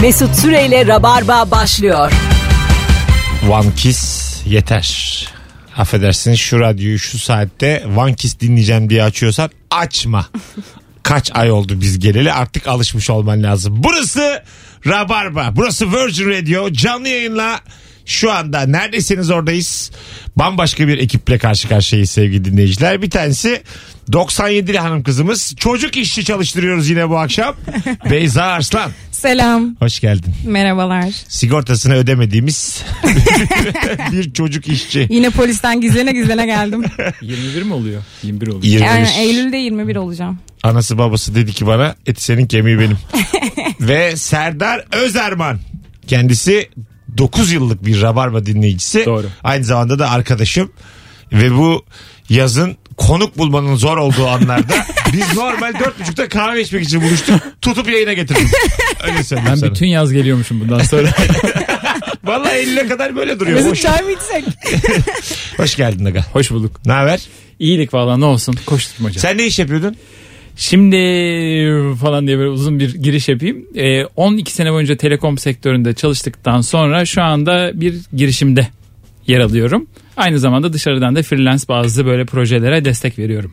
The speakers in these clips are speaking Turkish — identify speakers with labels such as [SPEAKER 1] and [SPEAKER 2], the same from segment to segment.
[SPEAKER 1] Mesut Süreyle Rabarba başlıyor.
[SPEAKER 2] One Kiss yeter. Affedersiniz şu radyoyu şu saatte One Kiss dinleyeceğim diye açıyorsan açma. Kaç ay oldu biz geleli artık alışmış olman lazım. Burası Rabarba. Burası Virgin Radio. Canlı yayınla şu anda neredesiniz oradayız. Bambaşka bir ekiple karşı karşıyayız sevgili dinleyiciler. Bir tanesi 97'li hanım kızımız. Çocuk işçi çalıştırıyoruz yine bu akşam. Beyza Arslan.
[SPEAKER 3] Selam,
[SPEAKER 2] Hoş geldin.
[SPEAKER 3] merhabalar.
[SPEAKER 2] sigortasını ödemediğimiz bir çocuk işçi.
[SPEAKER 3] Yine polisten gizlene gizlene geldim.
[SPEAKER 4] 21 mi oluyor? 21 oluyor.
[SPEAKER 3] Yani
[SPEAKER 2] 23.
[SPEAKER 3] Eylül'de 21 olacağım.
[SPEAKER 2] Anası babası dedi ki bana et senin kemiği benim. Ve Serdar Özerman kendisi 9 yıllık bir Rabarba dinleyicisi.
[SPEAKER 4] Doğru.
[SPEAKER 2] Aynı zamanda da arkadaşım. Ve bu yazın konuk bulmanın zor olduğu anlarda biz normal 4.30'da kahve içmek için buluştuk. Tutup yayına getirdim. Öyle söyleyeyim
[SPEAKER 4] Ben
[SPEAKER 2] sana.
[SPEAKER 4] bütün yaz geliyormuşum bundan sonra.
[SPEAKER 2] Vallahi Eylül'e kadar böyle duruyor.
[SPEAKER 3] Mesut
[SPEAKER 2] Hoş,
[SPEAKER 3] çay mı içsek?
[SPEAKER 2] hoş geldin Aga.
[SPEAKER 4] Hoş bulduk.
[SPEAKER 2] Ne haber?
[SPEAKER 4] İyilik falan ne olsun koşturmaca.
[SPEAKER 2] Sen ne iş yapıyordun?
[SPEAKER 4] Şimdi falan diye böyle uzun bir giriş yapayım. Ee, 12 sene boyunca telekom sektöründe çalıştıktan sonra şu anda bir girişimde yer alıyorum. Aynı zamanda dışarıdan da freelance bazı böyle projelere destek veriyorum.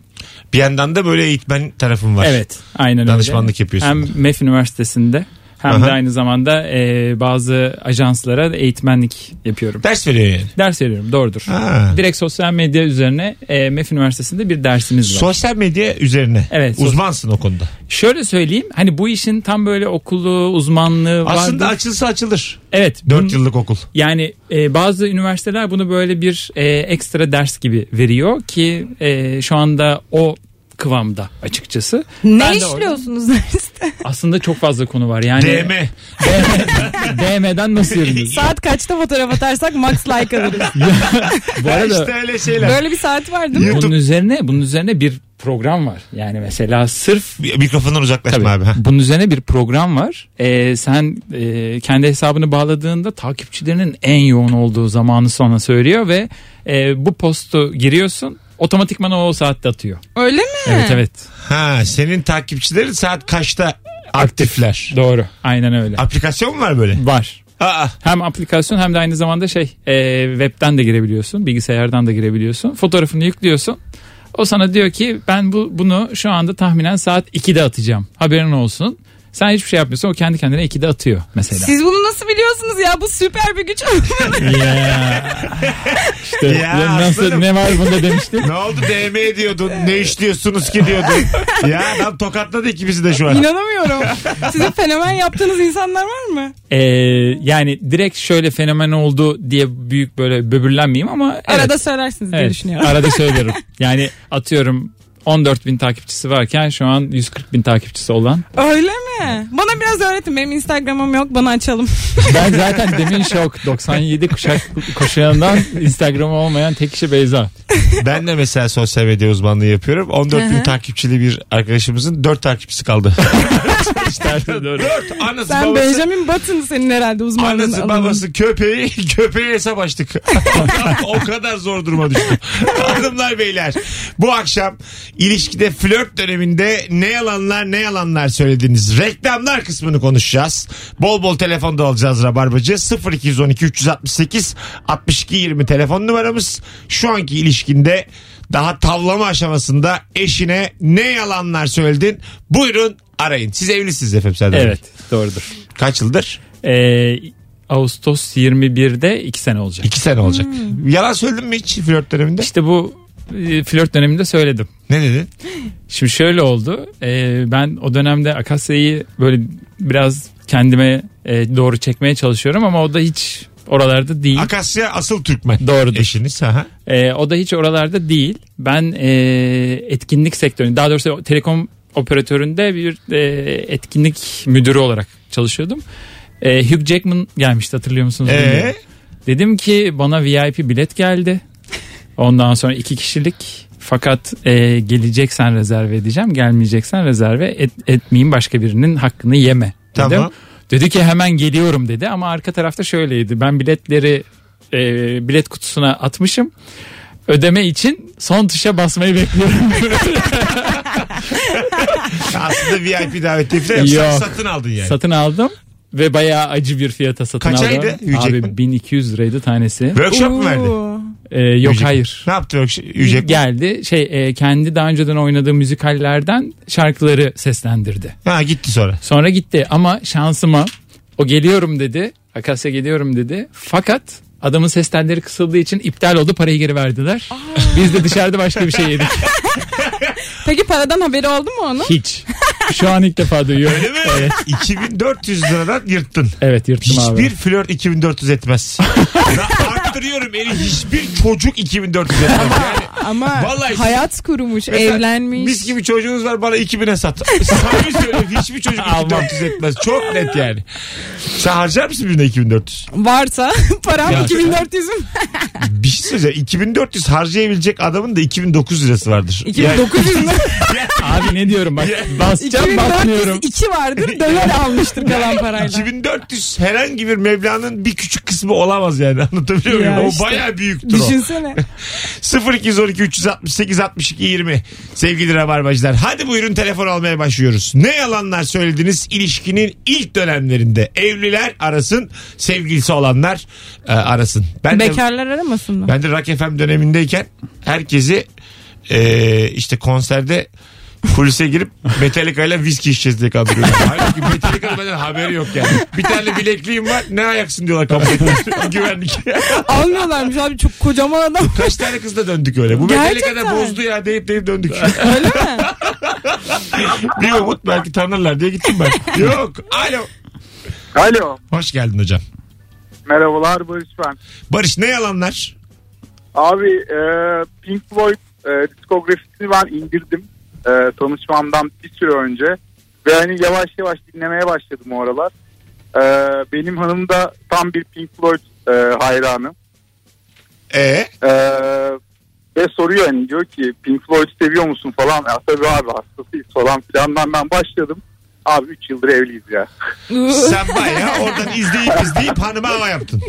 [SPEAKER 2] Bir yandan da böyle eğitmen tarafım var.
[SPEAKER 4] Evet aynen öyle.
[SPEAKER 2] Danışmanlık yapıyorsun.
[SPEAKER 4] Hem MEF Üniversitesi'nde hem
[SPEAKER 2] Aha.
[SPEAKER 4] de aynı zamanda e, bazı ajanslara eğitmenlik yapıyorum.
[SPEAKER 2] Ders veriyor yani.
[SPEAKER 4] Ders veriyorum doğrudur.
[SPEAKER 2] Ha.
[SPEAKER 4] Direkt sosyal medya üzerine e, MEF Üniversitesi'nde bir dersimiz var.
[SPEAKER 2] Sosyal medya üzerine.
[SPEAKER 4] Evet, sos-
[SPEAKER 2] Uzmansın o konuda.
[SPEAKER 4] Şöyle söyleyeyim hani bu işin tam böyle okulu uzmanlığı var.
[SPEAKER 2] Aslında açılsa açılır.
[SPEAKER 4] evet.
[SPEAKER 2] 4
[SPEAKER 4] bun-
[SPEAKER 2] yıllık okul.
[SPEAKER 4] Yani e, bazı üniversiteler bunu böyle bir e, ekstra ders gibi veriyor ki e, şu anda o kıvamda açıkçası. Ben
[SPEAKER 3] Ne
[SPEAKER 4] de orada-
[SPEAKER 3] işliyorsunuz derste?
[SPEAKER 4] Aslında çok fazla konu var yani.
[SPEAKER 2] DM.
[SPEAKER 4] DM'den nasıl yürünüz?
[SPEAKER 3] Saat kaçta fotoğraf atarsak max like alırız.
[SPEAKER 4] bu arada
[SPEAKER 2] işte öyle şeyler.
[SPEAKER 3] Böyle bir saat var değil mi?
[SPEAKER 4] bunun
[SPEAKER 2] YouTube-
[SPEAKER 4] üzerine bunun üzerine bir program var. Yani mesela sırf
[SPEAKER 2] Mikrofondan uzaklaşma
[SPEAKER 4] Tabii.
[SPEAKER 2] abi. Ha.
[SPEAKER 4] Bunun üzerine bir program var. Ee, sen e, kendi hesabını bağladığında takipçilerinin en yoğun olduğu zamanı sana söylüyor ve e, bu postu giriyorsun otomatikman o saatte atıyor.
[SPEAKER 3] Öyle mi?
[SPEAKER 4] Evet evet.
[SPEAKER 2] Ha, senin takipçilerin saat kaçta aktifler?
[SPEAKER 4] Doğru. Aynen öyle.
[SPEAKER 2] Aplikasyon mu var böyle?
[SPEAKER 4] Var.
[SPEAKER 2] Aa,
[SPEAKER 4] Hem aplikasyon hem de aynı zamanda şey e, webten de girebiliyorsun. Bilgisayardan da girebiliyorsun. Fotoğrafını yüklüyorsun. O sana diyor ki ben bu bunu şu anda tahminen saat 2'de atacağım. Haberin olsun. Sen hiçbir şey yapmıyorsun. O kendi kendine 2'de atıyor mesela.
[SPEAKER 3] Siz bunu nasıl biliyorsunuz ya? Bu süper bir güç.
[SPEAKER 4] İşte
[SPEAKER 2] Ya
[SPEAKER 4] ya nasıl
[SPEAKER 2] aslanım.
[SPEAKER 4] ne var bunda demiştim.
[SPEAKER 2] ne oldu DM diyordun. Ne işliyorsunuz ki diyordun. ya adam tokatladı ikimizi de şu an.
[SPEAKER 3] İnanamıyorum. Sizin fenomen yaptığınız insanlar var mı?
[SPEAKER 4] Ee, yani direkt şöyle fenomen oldu diye büyük böyle böbürlenmeyeyim ama evet.
[SPEAKER 3] Arada söylersiniz diye
[SPEAKER 4] Evet,
[SPEAKER 3] düşünüyorum.
[SPEAKER 4] Arada söylüyorum. Yani atıyorum 14 bin takipçisi varken şu an 140 bin takipçisi olan.
[SPEAKER 3] Öyle mi? Bana biraz öğretin. Benim Instagram'ım yok. Bana açalım.
[SPEAKER 4] Ben zaten demin şok 97 kuşak koşuyandan Instagram olmayan tek kişi Beyza.
[SPEAKER 2] Ben de mesela sosyal medya uzmanlığı yapıyorum. 14 bin takipçili bir arkadaşımızın 4 takipçisi kaldı.
[SPEAKER 4] İşte doğru.
[SPEAKER 2] Dört. Anası
[SPEAKER 3] Sen
[SPEAKER 2] babası.
[SPEAKER 3] Benjamin Button senin herhalde uzmanlığın
[SPEAKER 2] Anası
[SPEAKER 3] alanın.
[SPEAKER 2] babası köpeği köpeği hesap açtık. o kadar zor duruma düştüm. Hanımlar beyler bu akşam ilişkide flört döneminde ne yalanlar ne yalanlar söylediniz. Reklamlar kısmını konuşacağız. Bol bol telefonda alacağız Rabarbacı. 0212 368 62 20 telefon numaramız. Şu anki ilişkinde daha tavlama aşamasında eşine ne yalanlar söyledin? Buyurun arayın. Siz evlisiniz efendim Serdar Bey.
[SPEAKER 4] Evet doğrudur.
[SPEAKER 2] Kaç yıldır?
[SPEAKER 4] Ee, Ağustos 21'de 2 sene olacak.
[SPEAKER 2] İki sene olacak. Yalan söyledin mi hiç flört döneminde?
[SPEAKER 4] İşte bu e, flört döneminde söyledim.
[SPEAKER 2] Ne dedin?
[SPEAKER 4] Şimdi şöyle oldu. Ee, ben o dönemde Akasya'yı böyle biraz kendime e, doğru çekmeye çalışıyorum ama o da hiç oralarda değil.
[SPEAKER 2] Akasya asıl Türkmen.
[SPEAKER 4] Doğrudur.
[SPEAKER 2] Eşiniz. Aha.
[SPEAKER 4] Ee, o da hiç oralarda değil. Ben e, etkinlik sektöründe daha doğrusu telekom operatöründe bir e, etkinlik müdürü olarak çalışıyordum. E, Hugh Jackman gelmişti hatırlıyor musunuz? bilmiyorum.
[SPEAKER 2] Ee,
[SPEAKER 4] Dedim ki bana VIP bilet geldi. Ondan sonra iki kişilik. Fakat e, geleceksen rezerve edeceğim. Gelmeyeceksen rezerve et, etmeyeyim başka birinin hakkını yeme. Dedim.
[SPEAKER 2] Tamam.
[SPEAKER 4] Dedi ki hemen geliyorum dedi ama arka tarafta şöyleydi. Ben biletleri e, bilet kutusuna atmışım. Ödeme için son tuşa basmayı bekliyorum.
[SPEAKER 2] aslında VIP davetiye falan
[SPEAKER 4] Yok.
[SPEAKER 2] satın aldın yani.
[SPEAKER 4] Satın aldım. Ve bayağı acı bir fiyata satın
[SPEAKER 2] Kaçaydı
[SPEAKER 4] aldım.
[SPEAKER 2] Yücek
[SPEAKER 4] Abi
[SPEAKER 2] mi?
[SPEAKER 4] 1200 liraydı tanesi.
[SPEAKER 2] Workshop mu verdi?
[SPEAKER 3] Oo.
[SPEAKER 4] Ee, yok
[SPEAKER 2] Yücek.
[SPEAKER 4] hayır.
[SPEAKER 2] Ne yaptı workshop? Ücret.
[SPEAKER 4] Geldi şey e, kendi daha önceden oynadığı müzikallerden şarkıları seslendirdi.
[SPEAKER 2] Ha gitti sonra.
[SPEAKER 4] Sonra gitti ama şansıma o geliyorum dedi. Akasya geliyorum dedi. Fakat adamın ses telleri kısıldığı için iptal oldu parayı geri verdiler. Biz de dışarıda başka bir şey yedik.
[SPEAKER 3] Peki paradan haberi oldu mu onun?
[SPEAKER 4] Hiç. Şu an ilk defa duyuyorum.
[SPEAKER 2] Değil mi? 2400 liradan yırttın.
[SPEAKER 4] Evet yırttım
[SPEAKER 2] Hiçbir
[SPEAKER 4] abi.
[SPEAKER 2] flört 2400 etmez. Ben arttırıyorum eli hiçbir çocuk 2400 etmez. Yani
[SPEAKER 3] Ama
[SPEAKER 2] Vallahi-
[SPEAKER 3] hayat kurumuş,
[SPEAKER 2] Mesela
[SPEAKER 3] evlenmiş.
[SPEAKER 2] Biz gibi çocuğunuz var bana 2000'e sat. Samimi söylüyorum hiçbir çocuk
[SPEAKER 4] Almam.
[SPEAKER 2] 2400 etmez. Çok net yani. Sen harcar mısın birine 2400?
[SPEAKER 3] Varsa param
[SPEAKER 4] Ya-
[SPEAKER 3] 2400 mü?
[SPEAKER 2] Bir şey söyleyeceğim. 2400 harcayabilecek adamın da 2900 lirası vardır.
[SPEAKER 3] 2900 mü?
[SPEAKER 4] Abi ne diyorum bak basacağım basmıyorum.
[SPEAKER 3] 2 vardır döner almıştır kalan
[SPEAKER 2] Yani
[SPEAKER 3] parayla.
[SPEAKER 2] 2400 herhangi bir meblağın bir küçük kısmı olamaz yani anlatabiliyor muyum?
[SPEAKER 3] Ya
[SPEAKER 2] o
[SPEAKER 3] işte.
[SPEAKER 2] baya büyüktür o.
[SPEAKER 3] Düşünsene.
[SPEAKER 2] 0212 368 62 20 sevgili rabarbacılar hadi buyurun telefon almaya başlıyoruz. Ne yalanlar söylediniz ilişkinin ilk dönemlerinde evliler arasın sevgilisi olanlar e, arasın. Ben de,
[SPEAKER 3] Bekarlar aramasın mı?
[SPEAKER 2] ben de Rock FM dönemindeyken herkesi e, işte konserde kulise girip Metallica ile viski içeceğiz diye kandırıyorlar. Halbuki Metallica'nın benden haberi yok yani. Bir tane bilekliğim var ne ayaksın diyorlar kabul etmiyor. Güvenlik.
[SPEAKER 3] Almıyorlarmış abi çok kocaman adam.
[SPEAKER 2] Kaç tane kızla döndük öyle. Bu
[SPEAKER 3] Gerçekten.
[SPEAKER 2] Metallica'da bozdu ya deyip deyip döndük. bir umut belki tanırlar diye gittim ben. Yok. Alo.
[SPEAKER 5] Alo.
[SPEAKER 2] Hoş geldin hocam.
[SPEAKER 5] Merhabalar Barış ben.
[SPEAKER 2] Barış ne yalanlar?
[SPEAKER 5] Abi e, Pink Floyd e, diskografisini ben indirdim e, tanışmamdan bir süre önce. Ve hani yavaş yavaş dinlemeye başladım o aralar. E, benim hanım da tam bir Pink Floyd e, hayranı.
[SPEAKER 2] Ee,
[SPEAKER 5] E, ve soruyor hani diyor ki Pink Floyd seviyor musun falan. Ya tabii abi hastasıyız falan filandan ben başladım. Abi 3 yıldır evliyiz ya.
[SPEAKER 2] sen bayağı oradan izleyip izleyip hanıma hava yaptın.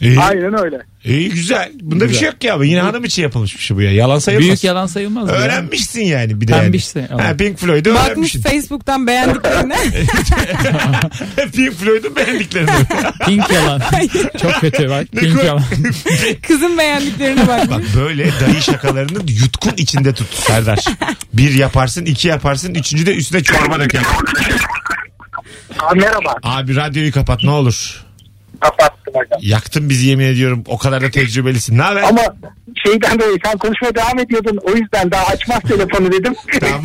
[SPEAKER 2] İyi,
[SPEAKER 5] Aynen öyle.
[SPEAKER 2] iyi, güzel. Bunda bir şey yok ki abi. Yine hanım için yapılmış bir şey bu ya. Yalan sayılmaz.
[SPEAKER 4] Büyük yalan sayılmaz. ya.
[SPEAKER 2] Öğrenmişsin yani bir de yani.
[SPEAKER 4] Pembişse.
[SPEAKER 2] Ha, Pink Floyd'u
[SPEAKER 3] Bakmış
[SPEAKER 2] öğrenmişsin.
[SPEAKER 3] Facebook'tan beğendiklerine.
[SPEAKER 2] Pink Floyd'un beğendiklerini.
[SPEAKER 4] Pink yalan. Çok kötü bak. Pink
[SPEAKER 2] komik.
[SPEAKER 4] yalan.
[SPEAKER 3] Kızın beğendiklerine bakmış.
[SPEAKER 2] Bak böyle dayı şakalarını yutkun içinde tut Serdar. Bir yaparsın, iki yaparsın, üçüncü de üstüne çorba döker.
[SPEAKER 5] Abi merhaba.
[SPEAKER 2] Abi radyoyu kapat ne olur.
[SPEAKER 5] Kapattım hocam.
[SPEAKER 2] Yaktın bizi yemin ediyorum. O kadar da tecrübelisin. Ne haber?
[SPEAKER 5] Ama şeyden dolayı sen konuşmaya devam ediyordun. O yüzden daha açmaz telefonu dedim.
[SPEAKER 2] Tamam.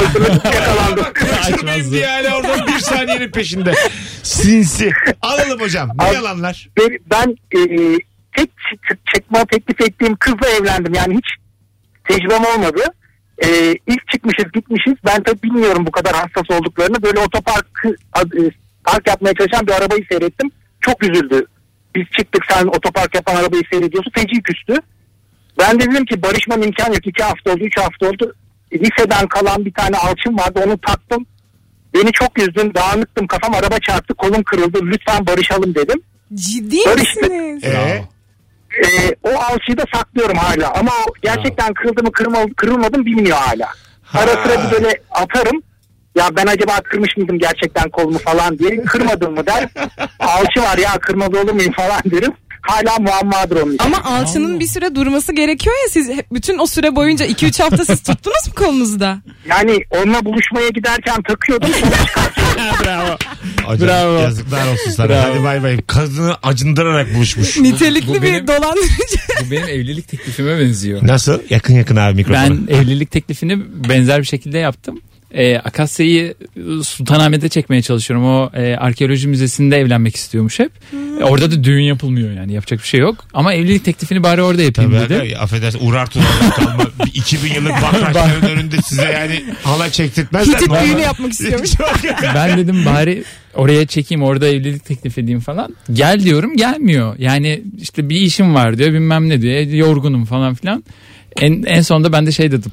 [SPEAKER 5] Hatırladım, Yakalandım.
[SPEAKER 2] Kaçırmayayım diye hala oradan bir saniyenin peşinde. Sinsi. Alalım hocam. Ne
[SPEAKER 5] Abi-
[SPEAKER 2] yalanlar?
[SPEAKER 5] Ben, ben e, e, tek ç- ç- çıkma teklif ettiğim kızla evlendim. Yani hiç tecrübem olmadı. E, ilk çıkmışız gitmişiz. Ben tabii bilmiyorum bu kadar hassas olduklarını. Böyle otopark e, park yapmaya çalışan bir arabayı seyrettim. Çok üzüldü. Biz çıktık sen otopark yapan arabayı seyrediyorsun. Feci küstü. Ben de dedim ki barışmanın imkanı yok. İki hafta oldu, üç hafta oldu. Liseden kalan bir tane alçım vardı. Onu taktım. Beni çok üzdün, dağınıktım, kafam araba çarptı, kolum kırıldı. Lütfen barışalım dedim.
[SPEAKER 3] Ciddi
[SPEAKER 5] Barış-
[SPEAKER 3] misiniz?
[SPEAKER 2] Ee,
[SPEAKER 5] Ee, o alçıyı da saklıyorum hala. Ama o gerçekten kırıldı mı kırma- kırılmadı mı bilmiyor hala. Ara sıra bir böyle atarım. Ya ben acaba kırmış mıydım gerçekten kolumu falan diye. Kırmadım mı der. Alçı var ya kırmadı olur muyum falan derim. Hala muammadır onun için.
[SPEAKER 3] Ama alçının bir süre durması gerekiyor ya siz hep- bütün o süre boyunca 2-3 hafta siz tuttunuz mu kolunuzda?
[SPEAKER 5] Yani onunla buluşmaya giderken takıyordum. sonra
[SPEAKER 4] Bravo.
[SPEAKER 2] hocam
[SPEAKER 4] Bravo.
[SPEAKER 2] yazıklar olsun sana.
[SPEAKER 4] Bravo.
[SPEAKER 2] Hadi bay bay. Kadını acındırarak buluşmuş.
[SPEAKER 3] Nitelikli
[SPEAKER 4] Bu
[SPEAKER 3] bir
[SPEAKER 4] benim-
[SPEAKER 3] dolandırıcı.
[SPEAKER 4] Bu benim evlilik teklifime benziyor.
[SPEAKER 2] Nasıl? Yakın yakın abi mikrofona.
[SPEAKER 4] Ben evlilik teklifini benzer bir şekilde yaptım. Ee, Akasya'yı e, Sultanahmet'e çekmeye çalışıyorum. O e, arkeoloji müzesinde evlenmek istiyormuş hep. E, orada da düğün yapılmıyor yani yapacak bir şey yok. Ama evlilik teklifini bari orada yapayım
[SPEAKER 2] Tabii
[SPEAKER 4] dedi.
[SPEAKER 2] abi, affedersin Urartu'da kalma bir 2000 yıllık bakraçların önünde size yani hala çektirtmezler.
[SPEAKER 3] Hitit
[SPEAKER 2] Normal.
[SPEAKER 3] düğünü yapmak istiyormuş.
[SPEAKER 4] Ben dedim bari oraya çekeyim orada evlilik teklif edeyim falan. Gel diyorum gelmiyor. Yani işte bir işim var diyor bilmem ne diyor. E, yorgunum falan filan. En, en sonunda ben de şey dedim.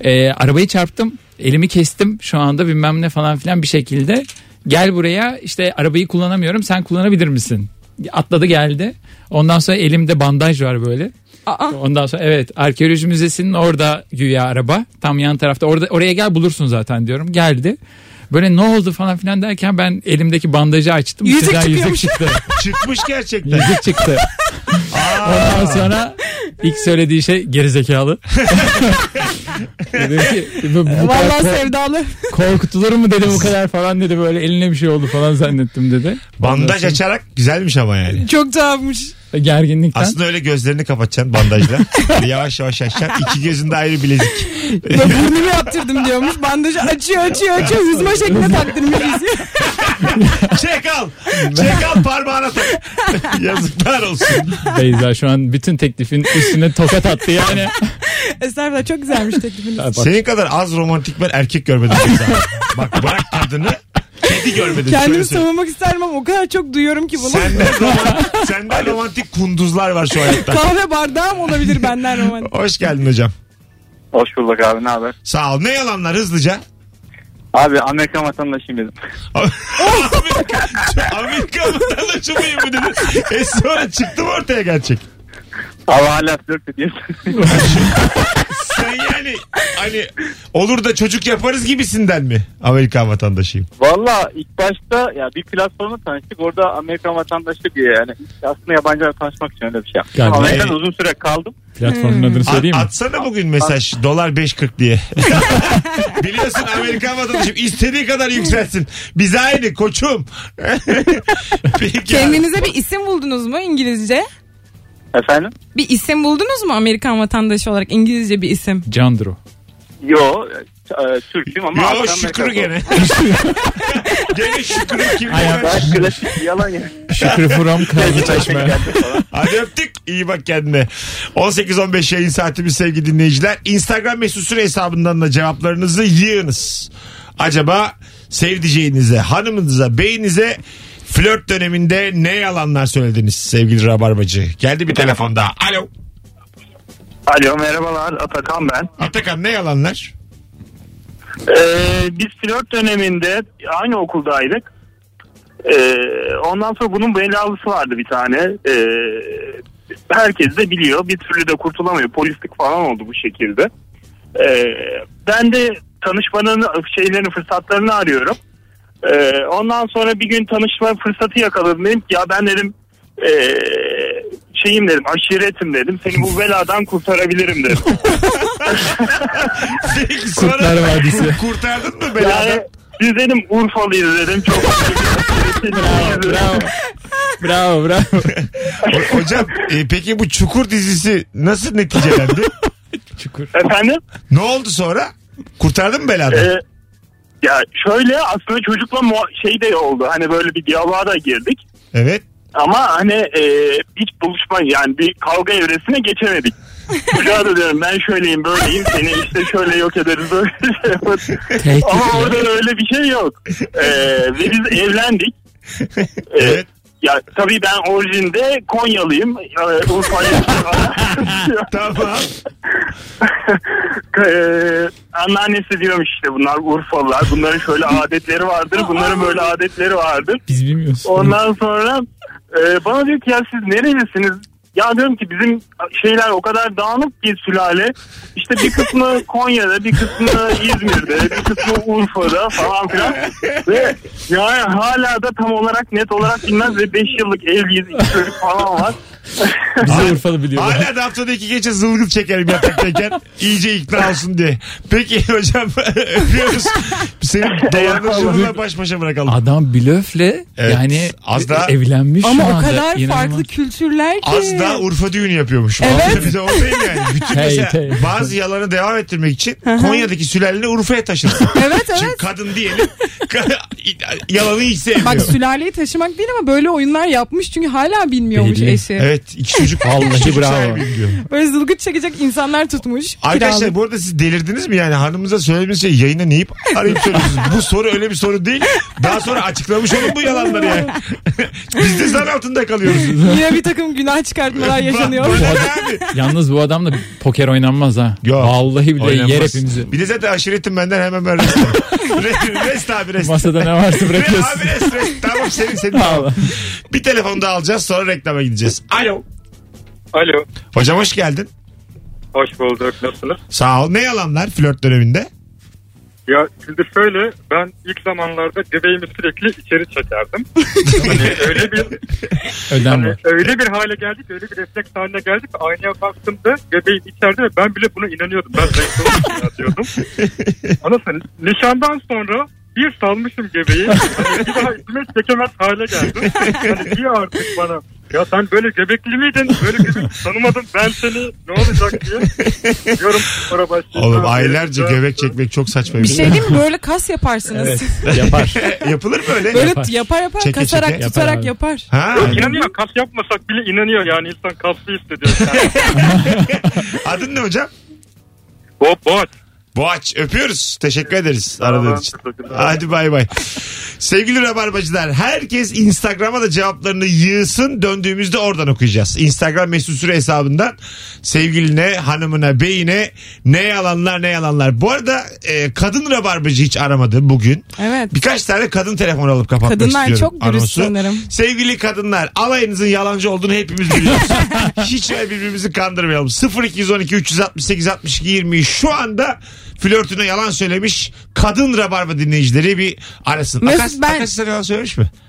[SPEAKER 4] E, arabayı çarptım elimi kestim şu anda bilmem ne falan filan bir şekilde. Gel buraya işte arabayı kullanamıyorum sen kullanabilir misin? Atladı geldi. Ondan sonra elimde bandaj var böyle.
[SPEAKER 3] Aa,
[SPEAKER 4] Ondan sonra evet arkeoloji müzesinin orada güya araba tam yan tarafta orada oraya gel bulursun zaten diyorum geldi Böyle ne oldu falan filan derken ben elimdeki bandajı açtım.
[SPEAKER 3] Yüzük
[SPEAKER 4] İçinden
[SPEAKER 3] çıkıyormuş.
[SPEAKER 4] Yüzük çıktı.
[SPEAKER 2] Çıkmış gerçekten.
[SPEAKER 4] yüzük çıktı. Ondan sonra ilk söylediği şey gerizekalı. dedim ki bu, bu kadar
[SPEAKER 3] Vallahi
[SPEAKER 4] ko-
[SPEAKER 3] sevdalı.
[SPEAKER 4] korkutulur mu dedi bu kadar falan dedi böyle eline bir şey oldu falan zannettim dedi.
[SPEAKER 2] Bandaj açarak güzelmiş ama yani.
[SPEAKER 3] Çok tuhafmış.
[SPEAKER 4] Gerginlikten.
[SPEAKER 2] Aslında öyle gözlerini kapatacaksın bandajla. yavaş yavaş açacaksın. İki gözünde ayrı bilezik.
[SPEAKER 3] Ya burnumu yaptırdım diyormuş. Bandajı açıyor açıyor açıyor. Hüzme şeklinde taktırmış yüzüğü.
[SPEAKER 2] Çek al. Çek al parmağına tak. Yazıklar olsun.
[SPEAKER 4] Beyza şu an bütün teklifin üstüne tokat attı yani.
[SPEAKER 3] Estağfurullah çok güzelmiş teklifiniz.
[SPEAKER 2] Senin kadar az romantik ben erkek görmedim. Beyza. Bak bırak kadını. Kedi görmedim.
[SPEAKER 3] Kendimi
[SPEAKER 2] Şöyle şey söyleyeyim.
[SPEAKER 3] savunmak isterim ama o kadar çok duyuyorum ki bunu.
[SPEAKER 2] Senden romantik, senden romantik kunduzlar var şu hayatta.
[SPEAKER 3] Kahve bardağım olabilir benden romantik.
[SPEAKER 2] Hoş geldin hocam.
[SPEAKER 6] Hoş bulduk abi ne haber?
[SPEAKER 2] Sağ ol. Ne yalanlar hızlıca?
[SPEAKER 6] Abi Amerika vatandaşıyım dedim.
[SPEAKER 2] Amerika, Amerika vatandaşı mıyım bu dedi. E sonra çıktım ortaya gerçek.
[SPEAKER 6] Abi hala flört ediyorsun.
[SPEAKER 2] Sen yani hani olur da çocuk yaparız gibisinden mi Amerikan vatandaşıyım?
[SPEAKER 6] Valla ilk başta ya bir platformda tanıştık. Orada Amerikan vatandaşı diye yani aslında yabancılarla tanışmak için öyle bir şey yaptım.
[SPEAKER 4] Yani-
[SPEAKER 6] Amerika'da uzun süre kaldım.
[SPEAKER 4] Platformun adını
[SPEAKER 2] At,
[SPEAKER 4] söyleyeyim şey mi?
[SPEAKER 2] atsana bugün mesaj dolar 5.40 diye. Biliyorsun Amerikan vatandaşım istediği kadar yükselsin. Biz aynı koçum. Peki
[SPEAKER 3] Kendinize bir isim buldunuz mu İngilizce?
[SPEAKER 6] Efendim?
[SPEAKER 3] Bir isim buldunuz mu Amerikan vatandaşı olarak İngilizce bir isim?
[SPEAKER 4] Candro.
[SPEAKER 6] Yo e, Türk'üm ama
[SPEAKER 2] Yo
[SPEAKER 6] Amerika'da
[SPEAKER 2] şükrü gene. gene şükrü kim?
[SPEAKER 4] Ayağa
[SPEAKER 2] bilir?
[SPEAKER 6] Ben klasik yalan ya.
[SPEAKER 4] Şükrü Furam Kargı Çeşme.
[SPEAKER 2] Hadi öptük. İyi bak kendine. 18-15 yayın saatimiz sevgili dinleyiciler. Instagram mesut süre hesabından da cevaplarınızı yığınız. Acaba sevdiceğinize, hanımınıza, beyinize flört döneminde ne yalanlar söylediniz sevgili Rabarbacı? Geldi bir telefon daha. Alo.
[SPEAKER 6] Alo merhabalar Atakan ben.
[SPEAKER 2] Atakan ne yalanlar?
[SPEAKER 6] Ee, biz flört döneminde aynı okuldaydık. Ee, ondan sonra bunun belalısı vardı bir tane. Ee, herkes de biliyor. Bir türlü de kurtulamıyor. Polislik falan oldu bu şekilde. Ee, ben de tanışmanın şeylerini fırsatlarını arıyorum. Ee, ondan sonra bir gün tanışma fırsatı yakaladım. Dedim ki ya ben dedim ee, şeyim dedim aşiretim dedim. Seni bu beladan kurtarabilirim dedim.
[SPEAKER 2] Peki sonra-
[SPEAKER 4] Kurtlar Vadisi.
[SPEAKER 2] Kurtardın mı
[SPEAKER 6] Yani
[SPEAKER 2] beladan?
[SPEAKER 6] biz dedim Urfalıyız dedim. Çok
[SPEAKER 4] Bravo. Bravo bravo.
[SPEAKER 2] Ho- Hocam e, peki bu Çukur dizisi nasıl neticelendi?
[SPEAKER 4] Çukur.
[SPEAKER 6] Efendim?
[SPEAKER 2] ne oldu sonra? Kurtardın mı beladan?
[SPEAKER 6] Ee, ya şöyle aslında çocukla muha- şey de oldu. Hani böyle bir diyaloğa da girdik.
[SPEAKER 2] evet.
[SPEAKER 6] Ama hani e, hiç buluşma yani bir kavga evresine geçemedik. Çocuğa da diyorum ben şöyleyim böyleyim seni işte şöyle yok ederiz böyle şey yaparız.
[SPEAKER 4] Tehdit
[SPEAKER 6] Ama
[SPEAKER 4] ya.
[SPEAKER 6] orada öyle bir şey yok. Ee, ve biz evlendik. Ee,
[SPEAKER 2] Evet.
[SPEAKER 6] Ya tabii ben orijinde Konyalıyım. Ee, Urfa'yı
[SPEAKER 2] Tamam.
[SPEAKER 6] Ee, anneannesi diyormuş işte bunlar Urfalılar. Bunların şöyle adetleri vardır. Bunların böyle adetleri vardır.
[SPEAKER 4] Biz bilmiyoruz.
[SPEAKER 6] Ondan sonra e, bana diyor ki ya siz nerelisiniz? Ya diyorum ki bizim şeyler o kadar dağınık ki sülale. İşte bir kısmı Konya'da, bir kısmı İzmir'de, bir kısmı Urfa'da falan filan. Ve yani hala da tam olarak net olarak bilmez ve 5 yıllık evliyiz, iki çocuk falan var.
[SPEAKER 4] Bizi Urfalı biliyorlar.
[SPEAKER 2] Hala da haftada iki gece zılgıl çekerim yataktayken. iyice ikna olsun diye. Peki hocam öpüyoruz. Seni dolandırıcılığına baş başa bırakalım.
[SPEAKER 4] Adam blöfle
[SPEAKER 2] Evet,
[SPEAKER 4] yani
[SPEAKER 2] az daha-
[SPEAKER 4] evlenmiş
[SPEAKER 3] Ama
[SPEAKER 4] şu
[SPEAKER 3] o
[SPEAKER 4] anda.
[SPEAKER 3] kadar
[SPEAKER 4] İnanılmaz.
[SPEAKER 3] farklı kültürler ki.
[SPEAKER 2] Az daha Urfa düğünü yapıyormuş.
[SPEAKER 3] Evet.
[SPEAKER 2] Vallahi Bize o değil yani. Bütün
[SPEAKER 4] Hey,
[SPEAKER 2] mesela
[SPEAKER 4] hey.
[SPEAKER 2] bazı yalanı devam ettirmek için Konya'daki sülaleni Urfa'ya taşırsın.
[SPEAKER 3] Evet
[SPEAKER 2] Çünkü
[SPEAKER 3] evet.
[SPEAKER 2] kadın diyelim yalanı hiç
[SPEAKER 3] Bak
[SPEAKER 2] sevmiyor.
[SPEAKER 3] sülaleyi taşımak değil ama böyle oyunlar yapmış çünkü hala bilmiyormuş
[SPEAKER 4] Belli.
[SPEAKER 3] eşi.
[SPEAKER 2] Evet iki çocuk.
[SPEAKER 4] Vallahi
[SPEAKER 2] iki çocuk
[SPEAKER 4] bravo.
[SPEAKER 2] sahibiyim diyor.
[SPEAKER 3] Böyle zılgıt çekecek insanlar tutmuş.
[SPEAKER 2] Arkadaşlar
[SPEAKER 3] kiralık.
[SPEAKER 2] bu arada siz delirdiniz mi? Yani hanımıza söylediğiniz şey yayına neyip arayıp söylüyorsunuz. bu soru öyle bir soru değil. Daha sonra açıklamış olun bu yalanları yani. Biz de zan altında kalıyoruz.
[SPEAKER 3] Yine bir takım günah çıkartmalar yaşanıyor.
[SPEAKER 2] Bana ne abi?
[SPEAKER 4] Yalnız bu adamla poker oynanmaz ha.
[SPEAKER 2] Yok.
[SPEAKER 4] Vallahi bile
[SPEAKER 2] Oynanmaz.
[SPEAKER 4] yer hepimizi.
[SPEAKER 2] Bir de zaten aşiretim benden hemen ben rest. Re- rest abi rest.
[SPEAKER 4] Masada ne varsa
[SPEAKER 2] Re-
[SPEAKER 4] bırakıyorsun.
[SPEAKER 2] abi rest rest. Tamam senin senin.
[SPEAKER 4] Vallahi.
[SPEAKER 2] Bir telefon daha alacağız sonra reklama gideceğiz. Alo.
[SPEAKER 7] Alo.
[SPEAKER 2] Hocam hoş geldin.
[SPEAKER 7] Hoş bulduk. Nasılsınız?
[SPEAKER 2] Sağ ol. Ne yalanlar flört döneminde?
[SPEAKER 7] Ya şimdi şöyle ben ilk zamanlarda göbeğimi sürekli içeri çekerdim. hani öyle bir
[SPEAKER 4] Ödem var.
[SPEAKER 7] Ee, öyle bir hale geldik, öyle bir refleks haline geldik. Aynaya baktığımda göbeğim içeride ve ben bile buna inanıyordum. Ben renkli olduğum ya diyordum. Anasını nişandan sonra bir salmışım göbeği. Hani bir daha üstüme çekemez hale geldim. Hani diye artık bana ya sen böyle göbekli miydin? Böyle göbek tanımadım ben seni ne olacak diye. Diyorum sonra başlayayım.
[SPEAKER 2] Oğlum aylarca göbek çekmek çok saçma
[SPEAKER 3] Bir şey diyeyim mi? Böyle kas yaparsınız.
[SPEAKER 4] Yapar.
[SPEAKER 2] Yapılır mı öyle?
[SPEAKER 3] Böyle
[SPEAKER 4] Yapar.
[SPEAKER 3] t- yapar yapar.
[SPEAKER 2] Çeke
[SPEAKER 3] kasarak
[SPEAKER 2] çeke.
[SPEAKER 3] tutarak
[SPEAKER 4] Yapar abi.
[SPEAKER 3] yapar.
[SPEAKER 2] Ha,
[SPEAKER 7] İnanıyor kas yapmasak bile inanıyor yani insan kaslı hissediyor.
[SPEAKER 2] adın ne hocam?
[SPEAKER 7] Bob boğaç.
[SPEAKER 2] Boğaç öpüyoruz. Teşekkür ederiz aradığın
[SPEAKER 7] Tamam,
[SPEAKER 2] için.
[SPEAKER 7] teşekkürler.
[SPEAKER 2] Hadi bay bay. Sevgili Rabarbacılar herkes Instagram'a da cevaplarını yığsın döndüğümüzde oradan okuyacağız. Instagram mesut süre hesabından sevgiline, hanımına, beyine ne yalanlar ne yalanlar. Bu arada e, kadın Rabarbacı hiç aramadı bugün.
[SPEAKER 3] Evet.
[SPEAKER 2] Birkaç tane kadın telefon alıp kapatmak
[SPEAKER 3] Kadınlar
[SPEAKER 2] istiyorum.
[SPEAKER 3] çok dürüst
[SPEAKER 2] anonsu.
[SPEAKER 3] sanırım.
[SPEAKER 2] Sevgili kadınlar alayınızın yalancı olduğunu hepimiz biliyoruz. Hiç öyle birbirimizi kandırmayalım. 0212 368 62 20 şu anda flörtüne yalan söylemiş kadın rabarba dinleyicileri bir arasın.
[SPEAKER 3] Mesut,
[SPEAKER 2] Akas,
[SPEAKER 3] ben-
[SPEAKER 2] Akas sana yalan söylemiş mi?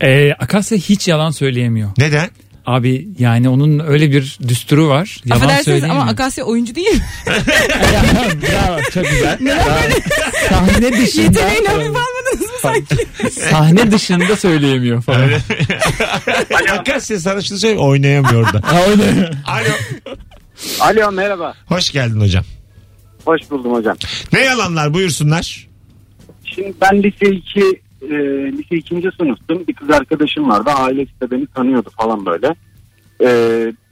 [SPEAKER 4] Ee, Akasya hiç yalan söyleyemiyor.
[SPEAKER 2] Neden?
[SPEAKER 4] Abi yani onun öyle bir düsturu var. Yalan
[SPEAKER 3] Affedersiniz
[SPEAKER 4] söyleyemiyor.
[SPEAKER 3] ama Akasya oyuncu değil.
[SPEAKER 4] Bravo, çok güzel. Bravo. sahne dışında
[SPEAKER 3] Yeteneğini hafif almadınız mı sanki?
[SPEAKER 4] sahne dışında söyleyemiyor falan.
[SPEAKER 2] Akasya sana şunu söyleyeyim oynayamıyor orada.
[SPEAKER 4] Ha, öyle.
[SPEAKER 2] Alo
[SPEAKER 8] Alo merhaba.
[SPEAKER 2] hoş geldin hocam.
[SPEAKER 8] Hoş buldum hocam.
[SPEAKER 2] Ne yalanlar buyursunlar.
[SPEAKER 8] Şimdi ben lise 2 e, lise 2. sınıftım. Bir kız arkadaşım vardı. Ailesi de beni tanıyordu falan böyle. E,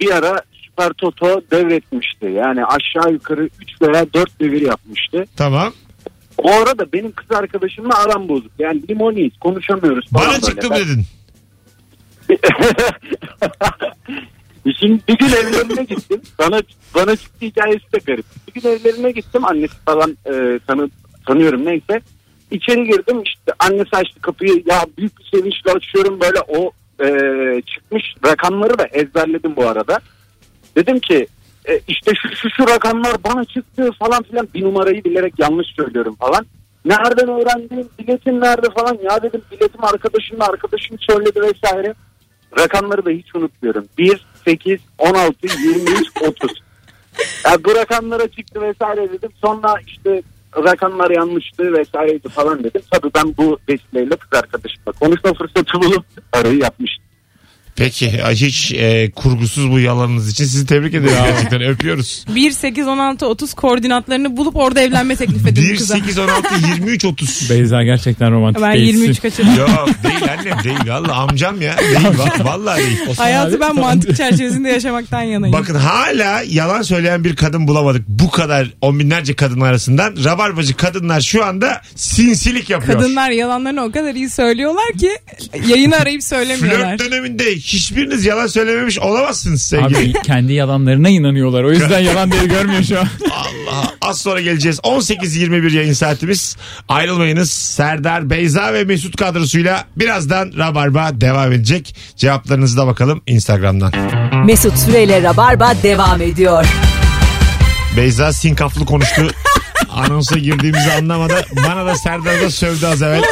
[SPEAKER 8] bir ara Süper Toto devretmişti. Yani aşağı yukarı 3 veya 4 devir yapmıştı.
[SPEAKER 2] Tamam.
[SPEAKER 8] O arada benim kız arkadaşımla aram bozuk. Yani limoniyiz konuşamıyoruz falan
[SPEAKER 2] Bana
[SPEAKER 8] böyle.
[SPEAKER 2] çıktım
[SPEAKER 8] Ben-
[SPEAKER 2] dedin.
[SPEAKER 8] Şimdi bir gün evlerine gittim. Bana bana çıktı hikayesi de garip. Bir gün evlerine gittim. Annesi falan e, tanı, tanıyorum neyse. İçeri girdim işte annesi açtı kapıyı. Ya büyük bir sevinçle açıyorum böyle o e, çıkmış rakamları da ezberledim bu arada. Dedim ki e, işte şu, şu şu rakamlar bana çıktı falan filan bir numarayı bilerek yanlış söylüyorum falan. Nereden öğrendin biletin nerede falan ya dedim biletim arkadaşımın arkadaşım söyledi vesaire. Rakamları da hiç unutmuyorum. 1, 8, 16, 23, 30. Ya bu rakamlara çıktı vesaire dedim. Sonra işte rakamlar yanlıştı vesaireydi falan dedim. Tabii ben bu vesileyle kız arkadaşımla konuşma fırsatı bulup arayı yapmıştım.
[SPEAKER 2] Peki hiç e, kurgusuz bu yalanınız için sizi tebrik ediyorum gerçekten öpüyoruz.
[SPEAKER 3] 1, 8, 16, 30 koordinatlarını bulup orada evlenme teklif edin
[SPEAKER 2] 1
[SPEAKER 3] kıza.
[SPEAKER 2] 8 16 23 30.
[SPEAKER 4] Beyza gerçekten romantik
[SPEAKER 3] Ben
[SPEAKER 4] değilsin.
[SPEAKER 3] 23 kaçırdım.
[SPEAKER 2] Yok değil annem değil valla amcam ya değil va- vallahi değil.
[SPEAKER 3] Hayatı ben
[SPEAKER 4] Abi,
[SPEAKER 3] mantık çerçevesinde yaşamaktan yanayım.
[SPEAKER 2] Bakın hala yalan söyleyen bir kadın bulamadık bu kadar on binlerce kadın arasından. Rabarbacı kadınlar şu anda sinsilik yapıyor.
[SPEAKER 3] Kadınlar yalanlarını o kadar iyi söylüyorlar ki yayını arayıp söylemiyorlar.
[SPEAKER 2] Flört döneminde hiçbiriniz yalan söylememiş olamazsınız sevgili.
[SPEAKER 4] Abi kendi yalanlarına inanıyorlar. O yüzden yalan diye görmüyor şu an.
[SPEAKER 2] Allah. Az sonra geleceğiz. 18.21 yayın saatimiz. Ayrılmayınız. Serdar, Beyza ve Mesut kadrosuyla birazdan Rabarba devam edecek. Cevaplarınızı da bakalım Instagram'dan.
[SPEAKER 1] Mesut Süreyle Rabarba devam ediyor.
[SPEAKER 2] Beyza sinkaflı konuştu. Anonsa girdiğimizi anlamadı. Bana da Serdar da sövdü az evvel.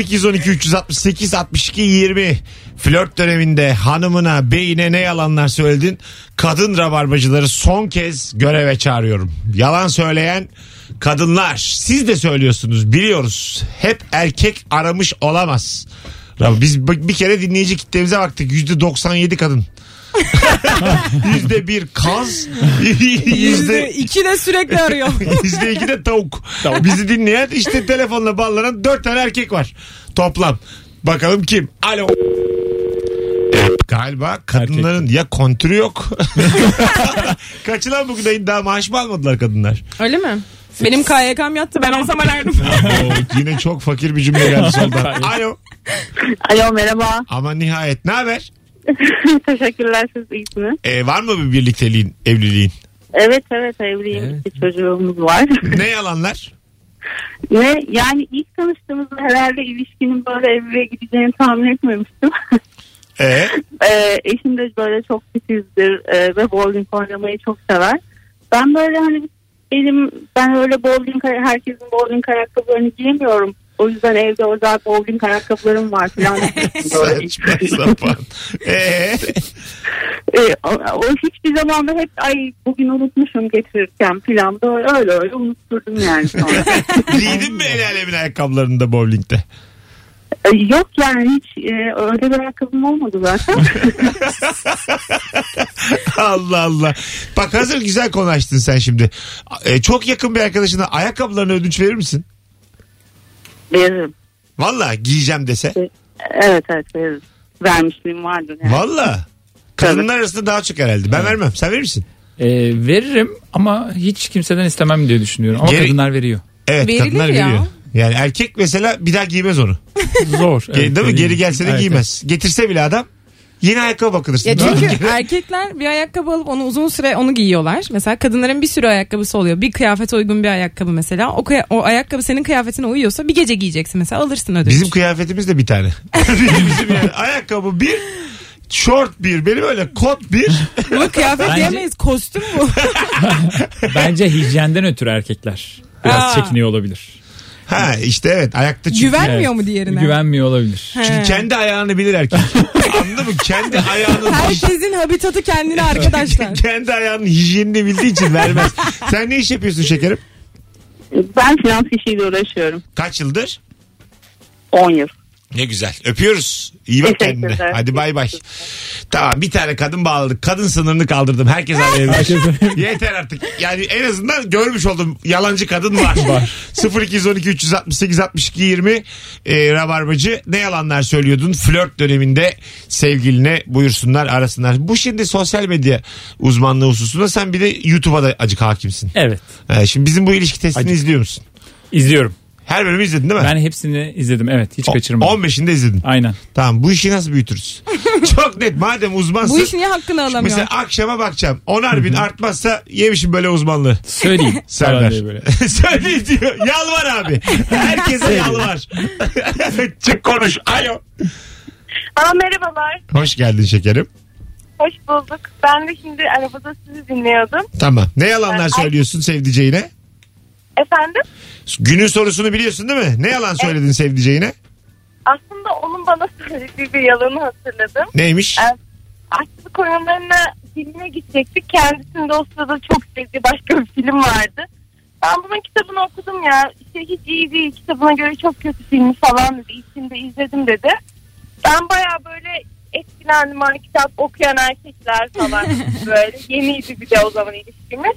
[SPEAKER 2] 0212 368 62 20 Flört döneminde hanımına, beyine ne yalanlar söyledin? Kadın rabarbacıları son kez göreve çağırıyorum. Yalan söyleyen kadınlar. Siz de söylüyorsunuz biliyoruz. Hep erkek aramış olamaz. Ya Biz bir bir kere dinleyici kitlemize baktık. %97 kadın. %1 kaz.
[SPEAKER 3] Yüzde iki de sürekli arıyor.
[SPEAKER 2] Bizde iki de tavuk. Bizi dinleyen işte telefonla bağlanan dört tane erkek var. Toplam. Bakalım kim? Alo. Evet, galiba kadınların ya kontürü yok. Kaçılan bugün ayın daha maaş mı almadılar kadınlar?
[SPEAKER 3] Öyle mi? Benim KYK'm yattı ben olsam arardım.
[SPEAKER 2] Oo, yine çok fakir bir cümle geldi soldan. Alo.
[SPEAKER 9] Alo merhaba.
[SPEAKER 2] Ama nihayet ne haber?
[SPEAKER 9] Teşekkürler siz iyisiniz.
[SPEAKER 2] Ee, var mı bir birlikteliğin, evliliğin?
[SPEAKER 9] Evet evet evliyim.
[SPEAKER 4] Evet.
[SPEAKER 9] İki çocuğumuz var.
[SPEAKER 2] Ne yalanlar?
[SPEAKER 9] Ve yani ilk tanıştığımızda herhalde ilişkinin böyle evliliğe gideceğini tahmin etmemiştim.
[SPEAKER 2] Ee,
[SPEAKER 9] Ee, eşim e, de böyle çok titizdir ee, ve bowling oynamayı çok sever. Ben böyle hani bir benim ben öyle bowling herkesin bowling ayakkabılarını giyemiyorum. O yüzden evde özel bowling ayakkabılarım var falan. Böyle.
[SPEAKER 2] Saçma sapan. Ee,
[SPEAKER 9] Ee, o, o hiçbir zaman da hep ay bugün unutmuşum getirirken falan böyle öyle öyle unutturdum yani sonra.
[SPEAKER 2] giydin mi el alemin ayakkabılarını da bowlingde?
[SPEAKER 9] Ee, Yok yani hiç e, öyle bir ayakkabım olmadı zaten.
[SPEAKER 2] Allah Allah. Bak hazır güzel konu açtın sen şimdi. Ee, çok yakın bir arkadaşına ayakkabılarını ödünç verir misin?
[SPEAKER 9] Veririm.
[SPEAKER 2] Valla giyeceğim dese.
[SPEAKER 9] E, Evet evet veririm. Vermişliğim vardır yani.
[SPEAKER 2] Valla. Kadınlar arasında daha çok herhalde. Ben vermem. Sen verir misin?
[SPEAKER 4] Ee, veririm ama hiç kimseden istemem diye düşünüyorum. Ama
[SPEAKER 2] Geri-
[SPEAKER 4] kadınlar veriyor.
[SPEAKER 2] Evet
[SPEAKER 3] Verilir
[SPEAKER 2] kadınlar
[SPEAKER 3] ya.
[SPEAKER 2] veriyor. Yani erkek mesela bir daha giymez onu.
[SPEAKER 4] Zor.
[SPEAKER 2] Ge-
[SPEAKER 4] Evet,
[SPEAKER 2] Değil mi?
[SPEAKER 4] veriyor.
[SPEAKER 2] Geri gelse de
[SPEAKER 4] Evet,
[SPEAKER 2] giymez. Getirse bile adam yeni ayakkabı bakılırsın.
[SPEAKER 3] Ya çünkü er- erkekler bir ayakkabı alıp onu uzun süre onu giyiyorlar. Mesela kadınların bir sürü ayakkabısı oluyor. Bir kıyafete uygun bir ayakkabı mesela. O, kıya- o ayakkabı senin kıyafetine uyuyorsa bir gece giyeceksin mesela alırsın ödünç.
[SPEAKER 2] Bizim kıyafetimiz de bir tane. Bizim yani ayakkabı bir, şort bir, benim öyle kot bir.
[SPEAKER 3] Bu kıyafet
[SPEAKER 4] Bence-
[SPEAKER 3] diyemeyiz kostüm bu.
[SPEAKER 4] evet. Bence hijyenden ötürü erkekler biraz
[SPEAKER 3] Aa.
[SPEAKER 4] çekiniyor olabilir.
[SPEAKER 2] Ha işte evet ayakta çünkü.
[SPEAKER 3] Güvenmiyor
[SPEAKER 4] Evet.
[SPEAKER 3] mu diğerine?
[SPEAKER 4] Güvenmiyor olabilir.
[SPEAKER 2] Çünkü kendi ayağını bilir erkek. Anladın mı? Kendi ayağının
[SPEAKER 3] Herkesin habitatı kendine arkadaşlar.
[SPEAKER 2] kendi ayağının hijyenini bildiği için vermez. Sen ne iş yapıyorsun şekerim?
[SPEAKER 9] Ben finans işiyle uğraşıyorum.
[SPEAKER 2] Kaç yıldır?
[SPEAKER 9] 10 yıl.
[SPEAKER 2] Ne güzel. Öpüyoruz. İyi bak kendine.
[SPEAKER 9] Teşekkürler.
[SPEAKER 2] Hadi bay bay. Tamam bir tane kadın bağladık. Kadın sınırını kaldırdım. Herkes anlayabilir. Yeter artık. Yani en azından görmüş oldum. Yalancı kadın var. 0212 368 62 20 e, Rabarbacı. Ne yalanlar söylüyordun? Flört döneminde sevgiline buyursunlar arasınlar. Bu şimdi sosyal medya uzmanlığı hususunda sen bir de YouTube'a da acık hakimsin.
[SPEAKER 4] Evet.
[SPEAKER 2] E, şimdi bizim bu ilişki testini izliyor musun?
[SPEAKER 4] İzliyorum.
[SPEAKER 2] Her bölümü izledin değil mi?
[SPEAKER 4] Ben hepsini izledim. Evet hiç
[SPEAKER 2] O-
[SPEAKER 4] kaçırmadım.
[SPEAKER 2] 15'inde izledin.
[SPEAKER 4] Aynen.
[SPEAKER 2] Tamam bu işi nasıl büyütürüz? Çok net madem uzmansın.
[SPEAKER 3] Bu iş niye hakkını alamıyor?
[SPEAKER 2] Mesela akşama bakacağım. Onar bin artmazsa yemişim böyle uzmanlığı.
[SPEAKER 4] Söyleyeyim.
[SPEAKER 2] Serdar.
[SPEAKER 4] Falan diye böyle.
[SPEAKER 2] Söyle diyor. Yalvar abi. Herkese yalvar. Çık konuş. Alo.
[SPEAKER 10] Aa, merhabalar.
[SPEAKER 2] Hoş geldin şekerim.
[SPEAKER 10] Hoş bulduk. Ben de şimdi arabada sizi dinliyordum.
[SPEAKER 2] Tamam. Ne yalanlar söylüyorsun sevdiceğine?
[SPEAKER 10] Efendim?
[SPEAKER 2] Günün sorusunu biliyorsun değil mi? Ne yalan söyledin sevdiceğine?
[SPEAKER 10] Aslında onun bana söylediği bir yalanı hatırladım.
[SPEAKER 2] Neymiş?
[SPEAKER 10] Evet. Aşkı koyunlarına Ee, filme gidecektik. Kendisinin de o sırada çok sevdiği başka bir film vardı. Ben bunun kitabını okudum ya. İşte hiç iyi değil. Kitabına göre çok kötü filmi falan dedi. İçinde izledim dedi. Ben baya böyle etkilendim. Hani kitap okuyan erkekler falan böyle. Yeniydi bir de o zaman ilişkimiz.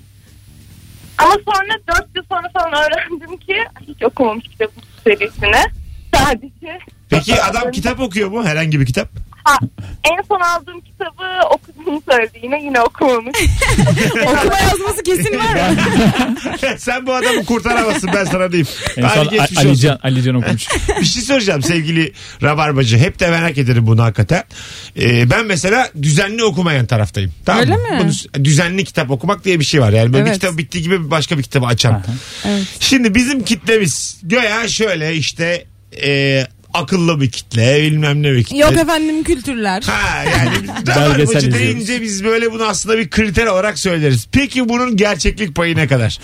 [SPEAKER 10] Ama sonra dört yıl sonra falan öğrendim ki hiç okumamış kitabın serisini. Sadece
[SPEAKER 2] Peki adam kitap okuyor mu? Herhangi bir kitap.
[SPEAKER 10] Ha, en son aldığım kitabı okuduğunu söyledi. Yine yine okumamış.
[SPEAKER 3] Okuma yazması kesin var mı?
[SPEAKER 2] Sen bu adamı kurtaramazsın ben sana diyeyim.
[SPEAKER 4] En son
[SPEAKER 2] Hadi
[SPEAKER 4] Ali,
[SPEAKER 2] geçmiş olsun.
[SPEAKER 4] Can, Ali Can okumuş.
[SPEAKER 2] Bir şey soracağım sevgili Rabarbacı. Hep de merak ederim bunu hakikaten. Ee, ben mesela düzenli okumayan taraftayım. Tamam
[SPEAKER 3] Öyle
[SPEAKER 2] mı?
[SPEAKER 3] mi?
[SPEAKER 2] Bunu- düzenli kitap okumak diye bir şey var. Yani böyle bir
[SPEAKER 3] Evet.
[SPEAKER 2] kitap bittiği gibi başka bir kitabı açan.
[SPEAKER 3] Evet.
[SPEAKER 2] Şimdi bizim kitlemiz göya şöyle işte e, akıllı bir kitle bilmem ne bir kitle.
[SPEAKER 3] Yok efendim kültürler.
[SPEAKER 2] Ha yani biz- Rabarbacı
[SPEAKER 4] izliyoruz.
[SPEAKER 2] deyince biz böyle bunu aslında bir kriter olarak söyleriz. Peki bunun gerçeklik payı ne kadar?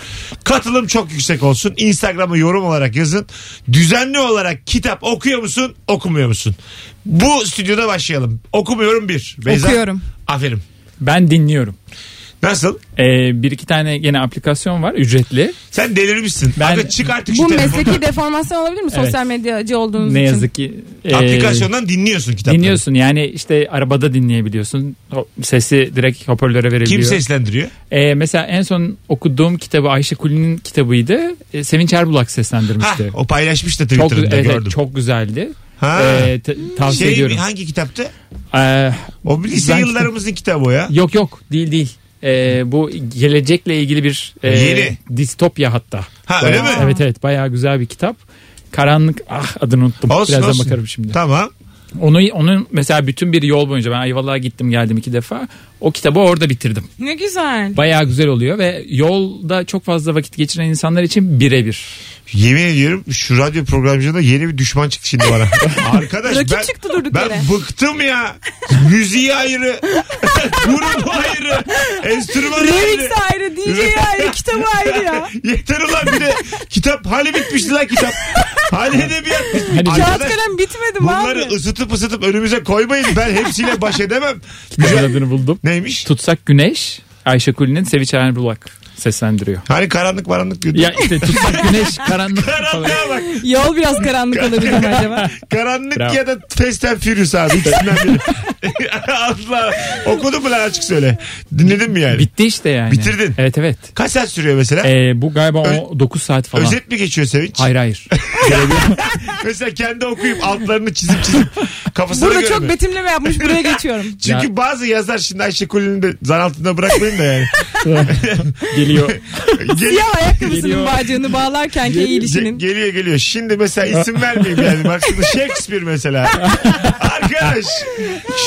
[SPEAKER 2] Katılım çok yüksek olsun. Instagram'a yorum olarak yazın. Düzenli olarak kitap okuyor musun, okumuyor musun? Bu stüdyoda başlayalım. Okumuyorum bir. Beyza.
[SPEAKER 3] Okuyorum.
[SPEAKER 2] Aferin.
[SPEAKER 4] Ben dinliyorum.
[SPEAKER 2] Nasıl?
[SPEAKER 4] Ee, bir iki tane gene aplikasyon var ücretli.
[SPEAKER 2] Sen delirmişsin.
[SPEAKER 4] Ben-
[SPEAKER 2] Aga çık artık şu
[SPEAKER 3] Bu
[SPEAKER 2] telefonu.
[SPEAKER 3] mesleki deformasyon olabilir mi? Sosyal medyacı olduğunuz
[SPEAKER 4] Ne
[SPEAKER 3] için.
[SPEAKER 4] yazık ki. e,
[SPEAKER 2] Aplikasyondan dinliyorsun kitapları.
[SPEAKER 4] Dinliyorsun yani işte arabada dinleyebiliyorsun. Ho- Sesi direkt hoparlöre
[SPEAKER 2] Kim
[SPEAKER 4] verebiliyor.
[SPEAKER 2] seslendiriyor?
[SPEAKER 4] Ee, mesela en son okuduğum kitabı Ayşe Kuli'nin kitabıydı. Ee, Sevinç Erbulak
[SPEAKER 2] Ha,
[SPEAKER 4] seslendirmişti.
[SPEAKER 2] o paylaşmıştı
[SPEAKER 4] çok,
[SPEAKER 2] Twitter'da
[SPEAKER 4] evet, evet,
[SPEAKER 2] gördüm.
[SPEAKER 4] çok güzeldi.
[SPEAKER 2] ha.
[SPEAKER 4] Ee, te- tavsiye
[SPEAKER 2] şey,
[SPEAKER 4] ediyorum.
[SPEAKER 2] hangi kitaptı?
[SPEAKER 4] Ee,
[SPEAKER 2] O lise
[SPEAKER 4] Ben-
[SPEAKER 2] yıllarımızın kitabı o ya.
[SPEAKER 4] yok yok değil değil. Ee, bu gelecekle ilgili bir e,
[SPEAKER 2] Yeni.
[SPEAKER 4] distopya hatta.
[SPEAKER 2] Ha, öyle mi?
[SPEAKER 4] Evet evet bayağı güzel bir kitap. Karanlık ah adını unuttum.
[SPEAKER 2] Olsun,
[SPEAKER 4] Birazdan
[SPEAKER 2] olsun.
[SPEAKER 4] bakarım şimdi.
[SPEAKER 2] Tamam.
[SPEAKER 4] Onu, onun mesela bütün bir yol boyunca ben Ayvalık'a gittim geldim iki defa. O kitabı orada bitirdim.
[SPEAKER 3] Ne güzel.
[SPEAKER 4] Bayağı güzel oluyor ve yolda çok fazla vakit geçiren insanlar için birebir.
[SPEAKER 2] Yemin ediyorum şu radyo programcılığında yeni bir düşman çıktı şimdi bana. Arkadaş
[SPEAKER 3] Rakip
[SPEAKER 2] ben,
[SPEAKER 3] çıktı durduk
[SPEAKER 2] ben
[SPEAKER 3] yere.
[SPEAKER 2] bıktım ya. Müziği ayrı. Grup ayrı. Enstrüman ayrı.
[SPEAKER 3] Remix ayrı, DJ ayrı, kitap ayrı ya.
[SPEAKER 2] Yeter ulan bir de kitap hali bitmişti lan kitap. Hali edebiyat bitmiş.
[SPEAKER 3] Kağıt
[SPEAKER 2] Arkadaş,
[SPEAKER 3] kalem bitmedi mi
[SPEAKER 2] bunları
[SPEAKER 3] abi?
[SPEAKER 2] ısıtıp ısıtıp önümüze koymayın. Ben hepsiyle baş edemem.
[SPEAKER 4] Kitabın adını buldum.
[SPEAKER 2] Neymiş?
[SPEAKER 4] Tutsak Güneş, Ayşe Kuli'nin Sevinç Eren Bulak seslendiriyor.
[SPEAKER 2] Hani karanlık maranlık diyordu.
[SPEAKER 4] Ya işte Tutsak Güneş karanlık falan.
[SPEAKER 2] Karanlığa bak.
[SPEAKER 3] Yol biraz karanlık olabilir mi acaba?
[SPEAKER 2] Karanlık
[SPEAKER 4] Bravo.
[SPEAKER 2] ya da Fast and Furious abi. İkisinden biri. Asla. Okudun mu lan açık söyle. Dinledin mi yani?
[SPEAKER 4] Bitti işte yani.
[SPEAKER 2] Bitirdin.
[SPEAKER 4] Evet evet.
[SPEAKER 2] Kaç saat sürüyor mesela?
[SPEAKER 4] Ee, bu galiba o 9 saat falan.
[SPEAKER 2] Özet mi geçiyor Sevinç?
[SPEAKER 4] Hayır hayır.
[SPEAKER 2] Mesela kendi okuyup altlarını çizip çizip kafasına
[SPEAKER 3] Burada
[SPEAKER 2] göre
[SPEAKER 3] çok
[SPEAKER 2] mi?
[SPEAKER 3] betimleme yapmış buraya geçiyorum.
[SPEAKER 2] Çünkü
[SPEAKER 4] Ya.
[SPEAKER 2] bazı yazar şimdi Ayşe Kulin'i de zan altında bırakmayın da yani.
[SPEAKER 4] Geliyor.
[SPEAKER 2] Geliyor,
[SPEAKER 3] Siyah ayakkabısının
[SPEAKER 4] Geliyor.
[SPEAKER 3] bağcığını bağlarken ki
[SPEAKER 2] ge-
[SPEAKER 3] eğilişinin.
[SPEAKER 2] geliyor geliyor. Şimdi mesela isim vermeyeyim yani. Baksana Shakespeare mesela. Arkadaş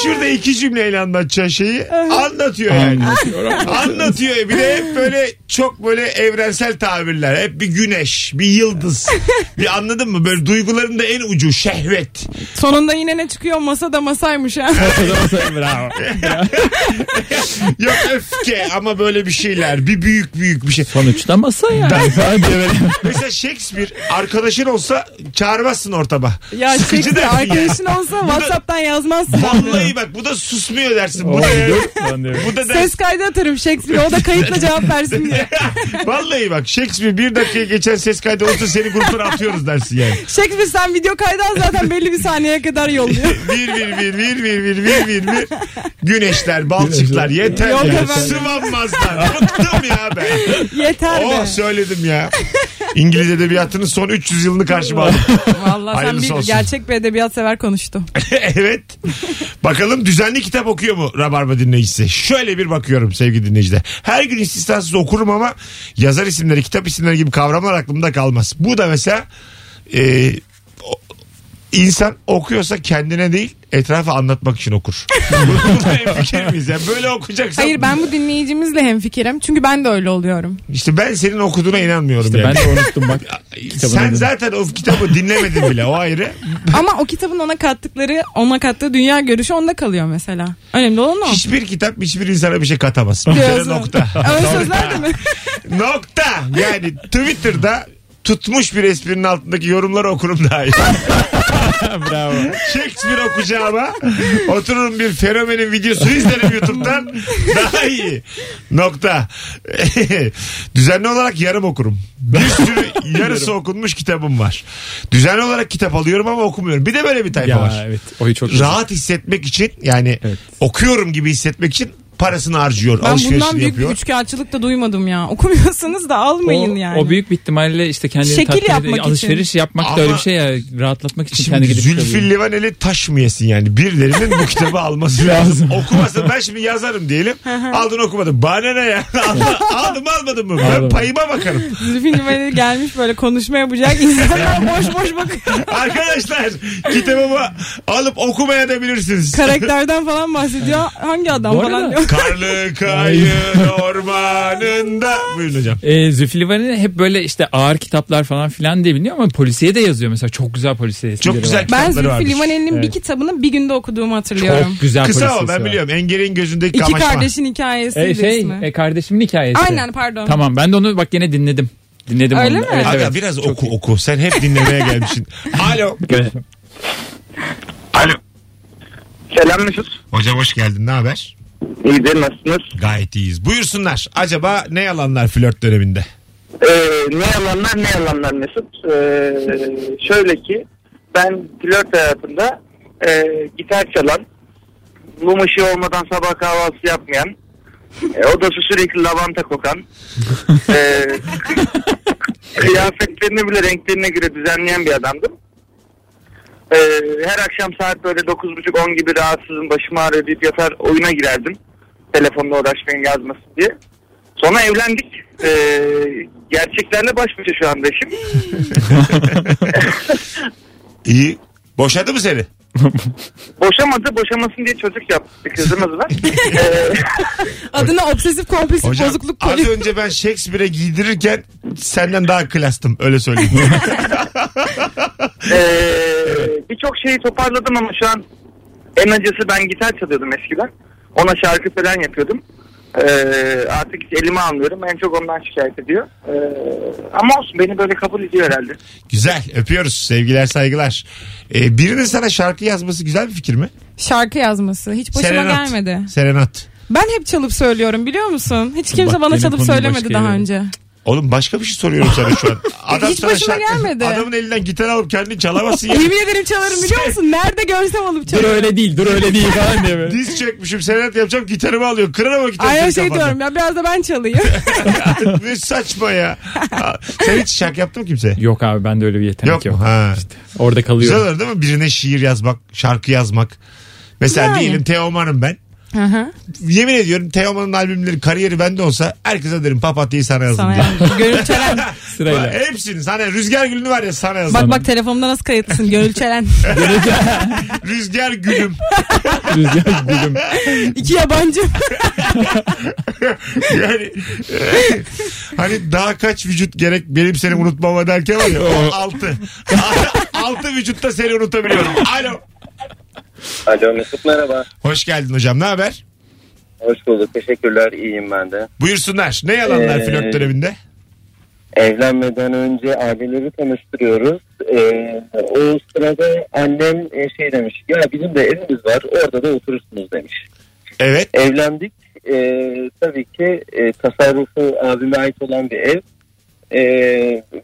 [SPEAKER 2] şurada iki cümleyle anlatacağı şeyi anlatıyor yani. Anlatıyor. Bir de hep böyle çok böyle evrensel tabirler. Hep bir güneş, bir yıldız. Bir anladın mı? Böyle duyguların da en ucu şehvet.
[SPEAKER 3] Sonunda yine ne çıkıyor? Masa da masaymış ha.
[SPEAKER 4] Bravo.
[SPEAKER 2] Yok öfke ama böyle bir şeyler. Bir büyük büyük bir şey.
[SPEAKER 4] Sonuçta masa yani.
[SPEAKER 2] Mesela Shakespeare arkadaşın olsa çağırmazsın ortama.
[SPEAKER 3] Ya
[SPEAKER 2] Sıkıcı
[SPEAKER 3] Shakespeare
[SPEAKER 2] dersin ya.
[SPEAKER 3] arkadaşın olsa Whatsapp'tan yazmazsın.
[SPEAKER 2] Vallahi bak bu da susmuyor dersin. Bu da, bu da dersin.
[SPEAKER 3] Ses kaydı atarım Shakespeare. O da kayıtla cevap versin diye.
[SPEAKER 2] Vallahi bak Shakespeare bir dakikaya geçen ses kaydı olsa seni gruptan atıyoruz dersin yani.
[SPEAKER 3] Shakespeare sen video kaydı al zaten belli bir saniyeye kadar yolluyor.
[SPEAKER 2] Bir bir bir bir bir bir bir bir bir. Güneşler, balçıklar yeter
[SPEAKER 3] Yok
[SPEAKER 2] ya.
[SPEAKER 3] efendim.
[SPEAKER 2] Sıvanmazlar. Bıktım ya ben.
[SPEAKER 3] Yeter
[SPEAKER 2] Oh
[SPEAKER 3] be.
[SPEAKER 2] söyledim ya. İngiliz edebiyatının son 300 yılını karşıma aldım.
[SPEAKER 3] Vallahi sen
[SPEAKER 2] Hayırlısı
[SPEAKER 3] bir
[SPEAKER 2] olsun.
[SPEAKER 3] gerçek bir edebiyat sever konuştu.
[SPEAKER 2] evet. Bakalım düzenli kitap okuyor mu Rabarba dinleyicisi? Şöyle bir bakıyorum sevgili dinleyiciler. Her gün istisnasız okurum ama yazar isimleri, kitap isimleri gibi kavramlar aklımda kalmaz. Bu da mesela e, o- insan okuyorsa kendine değil etrafa anlatmak için okur. Bunda hemfikir miyiz? ya? böyle okuyacaksan
[SPEAKER 3] Hayır ben bu dinleyicimizle hemfikirim. Çünkü ben de öyle oluyorum.
[SPEAKER 2] işte ben senin okuduğuna inanmıyorum
[SPEAKER 4] ben
[SPEAKER 2] yani.
[SPEAKER 4] de unuttum bak. kitabın
[SPEAKER 2] Sen
[SPEAKER 4] adını.
[SPEAKER 2] zaten o kitabı dinlemedin bile o ayrı.
[SPEAKER 3] Ama o kitabın ona kattıkları, ona kattığı dünya görüşü onda kalıyor mesela. Önemli olan o.
[SPEAKER 2] Hiçbir kitap hiçbir insana bir şey katamaz. Bir kere
[SPEAKER 3] Diyorsun.
[SPEAKER 2] nokta.
[SPEAKER 3] Ön sözler de mi?
[SPEAKER 2] Nokta. Yani Twitter'da tutmuş bir esprinin altındaki yorumları okurum daha iyi.
[SPEAKER 4] Bravo.
[SPEAKER 2] Shakespeare okuyacağıma otururum bir fenomenin videosunu izlerim YouTube'dan daha iyi. Nokta. Düzenli olarak yarım okurum. Bir sürü yarısı okunmuş kitabım var. Düzenli olarak kitap alıyorum ama okumuyorum. Bir de böyle bir tayfa var.
[SPEAKER 4] Ya evet. Oyu çok güzel.
[SPEAKER 2] Rahat hissetmek için yani
[SPEAKER 4] Evet.
[SPEAKER 2] okuyorum gibi hissetmek için parasını harcıyor.
[SPEAKER 3] Ben bundan
[SPEAKER 2] alışverişini
[SPEAKER 3] büyük
[SPEAKER 2] yapıyor.
[SPEAKER 3] bir üçkağıtçılık da duymadım ya. Okumuyorsanız da almayın
[SPEAKER 4] o,
[SPEAKER 3] yani.
[SPEAKER 4] o büyük bir ihtimalle işte kendini
[SPEAKER 3] Şekil
[SPEAKER 4] takdir
[SPEAKER 3] yapmak
[SPEAKER 4] eden-
[SPEAKER 3] için.
[SPEAKER 4] alışveriş yapmak da öyle
[SPEAKER 2] Ama-
[SPEAKER 4] bir şey ya rahatlatmak için
[SPEAKER 2] Şimdi
[SPEAKER 4] kendi gidip
[SPEAKER 2] Zülfü
[SPEAKER 4] çalıyor.
[SPEAKER 2] Livaneli taş mı yesin yani? Birilerinin bu kitabı alması lazım. Okumasın. Ben şimdi yazarım diyelim. Aldın okumadın. Bana ne ya? Aldım almadın mı? Ben
[SPEAKER 4] Aldım.
[SPEAKER 2] payıma bakarım.
[SPEAKER 3] Zülfü Livaneli gelmiş böyle konuşma yapacak. İnsanlar boş boş bakıyor.
[SPEAKER 2] Arkadaşlar kitabımı alıp okumaya da bilirsiniz.
[SPEAKER 3] Karakterden falan bahsediyor. Hangi adam
[SPEAKER 4] Bu
[SPEAKER 3] falan
[SPEAKER 4] arada-
[SPEAKER 3] diyor.
[SPEAKER 2] Karlı kayın ormanında. Buyurun hocam.
[SPEAKER 4] Ee, Zülfü Livaneli hep böyle işte ağır kitaplar falan filan diye biliniyor ama polisiye de yazıyor mesela. Çok güzel polisiye
[SPEAKER 2] Çok
[SPEAKER 4] eserleri
[SPEAKER 2] güzel
[SPEAKER 4] var.
[SPEAKER 3] Ben
[SPEAKER 2] kitapları varmış.
[SPEAKER 3] Zülfü Livaneli'nin bir
[SPEAKER 4] Evet.
[SPEAKER 3] kitabını bir günde okuduğumu hatırlıyorum.
[SPEAKER 4] Çok güzel
[SPEAKER 2] Kısa
[SPEAKER 4] polisiyesi
[SPEAKER 2] o ben
[SPEAKER 4] var.
[SPEAKER 2] biliyorum. Engerin gözündeki
[SPEAKER 3] İki
[SPEAKER 2] kamaşma.
[SPEAKER 3] kardeşin hikayesi
[SPEAKER 4] Ee, şey
[SPEAKER 3] ismi.
[SPEAKER 4] e, kardeşimin hikayesi.
[SPEAKER 3] Aynen pardon.
[SPEAKER 4] Tamam ben de onu bak yine dinledim. Dinledim
[SPEAKER 3] Öyle
[SPEAKER 4] onu.
[SPEAKER 3] mi?
[SPEAKER 4] Evet,
[SPEAKER 2] Aga
[SPEAKER 4] evet.
[SPEAKER 2] biraz oku oku. Sen hep dinlemeye gelmişsin. Alo.
[SPEAKER 8] Alo. Selam Mesut.
[SPEAKER 2] Hocam hoş geldin. Ne haber?
[SPEAKER 8] İyidir nasılsınız?
[SPEAKER 2] Gayet iyiyiz. Buyursunlar. Acaba ne yalanlar flört döneminde?
[SPEAKER 8] Ee, ne yalanlar ne yalanlar Mesut. Ee, şöyle ki ben flört hayatında e, gitar çalan, mum ışığı olmadan sabah kahvaltısı yapmayan, e, odası sürekli lavanta kokan, e, kıyafetlerini bile renklerine göre düzenleyen bir adamdım. E, her akşam saat böyle 9.30-10 gibi rahatsızım başım ağrıyor deyip yatar oyuna girerdim. Telefonla uğraşmayın yazması diye. Sonra evlendik. Ee, gerçeklerle baş başa şu anda eşim.
[SPEAKER 2] İyi. Boşadı mı seni?
[SPEAKER 8] Boşamadı boşamasın diye çocuk yaptı bir kızımız var. Ee,
[SPEAKER 3] Adına obsesif kompulsif
[SPEAKER 2] Hocam
[SPEAKER 3] bozukluk
[SPEAKER 2] az
[SPEAKER 3] koyuyor.
[SPEAKER 2] önce ben Shakespeare'e giydirirken senden daha klastım öyle söyleyeyim.
[SPEAKER 8] e, Birçok şeyi toparladım ama şu an en acısı ben gitar çalıyordum eskiden. Ona şarkı falan yapıyordum. Ee, artık elime almıyorum. En çok ondan şikayet ediyor. Ee, ama olsun beni böyle kabul ediyor herhalde.
[SPEAKER 2] güzel öpüyoruz sevgiler saygılar. Ee, birinin sana şarkı yazması güzel bir fikir mi?
[SPEAKER 3] Şarkı yazması hiç başıma
[SPEAKER 2] Serenat.
[SPEAKER 3] gelmedi.
[SPEAKER 2] Serenat.
[SPEAKER 3] Ben hep çalıp söylüyorum biliyor musun? Hiç kimse
[SPEAKER 4] Bak
[SPEAKER 3] bana
[SPEAKER 4] yine
[SPEAKER 3] çalıp
[SPEAKER 4] konuyu
[SPEAKER 3] söylemedi
[SPEAKER 4] başka
[SPEAKER 3] daha
[SPEAKER 4] yere-
[SPEAKER 3] önce.
[SPEAKER 2] Oğlum başka bir şey soruyorum sana şu an.
[SPEAKER 3] Hiç başıma gelmedi.
[SPEAKER 2] Adamın elinden gitar alıp kendini çalamazsın ya.
[SPEAKER 3] Yemin ederim çalarım biliyor musun? Nerede görsem alıp
[SPEAKER 4] Şey- Dur
[SPEAKER 3] çalarım.
[SPEAKER 4] öyle değil dur öyle değil falan diye böyle.
[SPEAKER 2] Diz çökmüşüm serenat yapacağım gitarımı alıyor. Kırarım o gitarı.
[SPEAKER 3] Ay
[SPEAKER 2] senin
[SPEAKER 3] şey
[SPEAKER 2] kafandan.
[SPEAKER 3] diyorum ya biraz da ben çalayım.
[SPEAKER 2] ne saçma ya. Aa, Sen hiç şarkı yaptın mı kimse?
[SPEAKER 4] Yok abi bende öyle bir yetenek
[SPEAKER 2] Yok
[SPEAKER 4] yok.
[SPEAKER 2] mu? Ha.
[SPEAKER 4] Orada
[SPEAKER 2] Güzel
[SPEAKER 4] kalıyor.
[SPEAKER 2] olur değil mi? Birine şiir yazmak, şarkı yazmak. Mesela
[SPEAKER 3] Yani.
[SPEAKER 2] diyelim Teoman'ım ben.
[SPEAKER 3] Hı hı.
[SPEAKER 2] Yemin ediyorum Teoman'ın albümleri, kariyeri bende olsa herkese derim papatyayı sana yazdım
[SPEAKER 3] Sana
[SPEAKER 2] diye.
[SPEAKER 3] yani. Gönül Çelen.
[SPEAKER 2] Ha,
[SPEAKER 4] Sırayla.
[SPEAKER 2] Hepsini sana rüzgar gülünü var ya sana yazdım.
[SPEAKER 3] Bak bak telefonumda nasıl kayıtlısın Gönül Çelen.
[SPEAKER 2] Rüzgar gülüm.
[SPEAKER 4] Rüzgar gülüm.
[SPEAKER 3] İki yabancı.
[SPEAKER 2] Yani e, hani daha kaç vücut gerek benim seni unutmama derken var ya o altı. altı vücutta seni unutabiliyorum. Alo.
[SPEAKER 11] Alo Mesut merhaba.
[SPEAKER 2] Hoş geldin hocam ne haber?
[SPEAKER 11] Hoş bulduk. Teşekkürler. İyiyim ben de.
[SPEAKER 2] Buyursunlar. Ne yalanlar
[SPEAKER 11] Ee,
[SPEAKER 2] flört döneminde?
[SPEAKER 11] Evlenmeden önce aileleri tanıştırıyoruz. Ee, o sırada annem e, şey demiş. Ya bizim de evimiz var. Orada da oturursunuz demiş.
[SPEAKER 2] Evet.
[SPEAKER 11] Evlendik. Ee, tabii ki e, tasarrufu abime ait olan bir ev. Ee,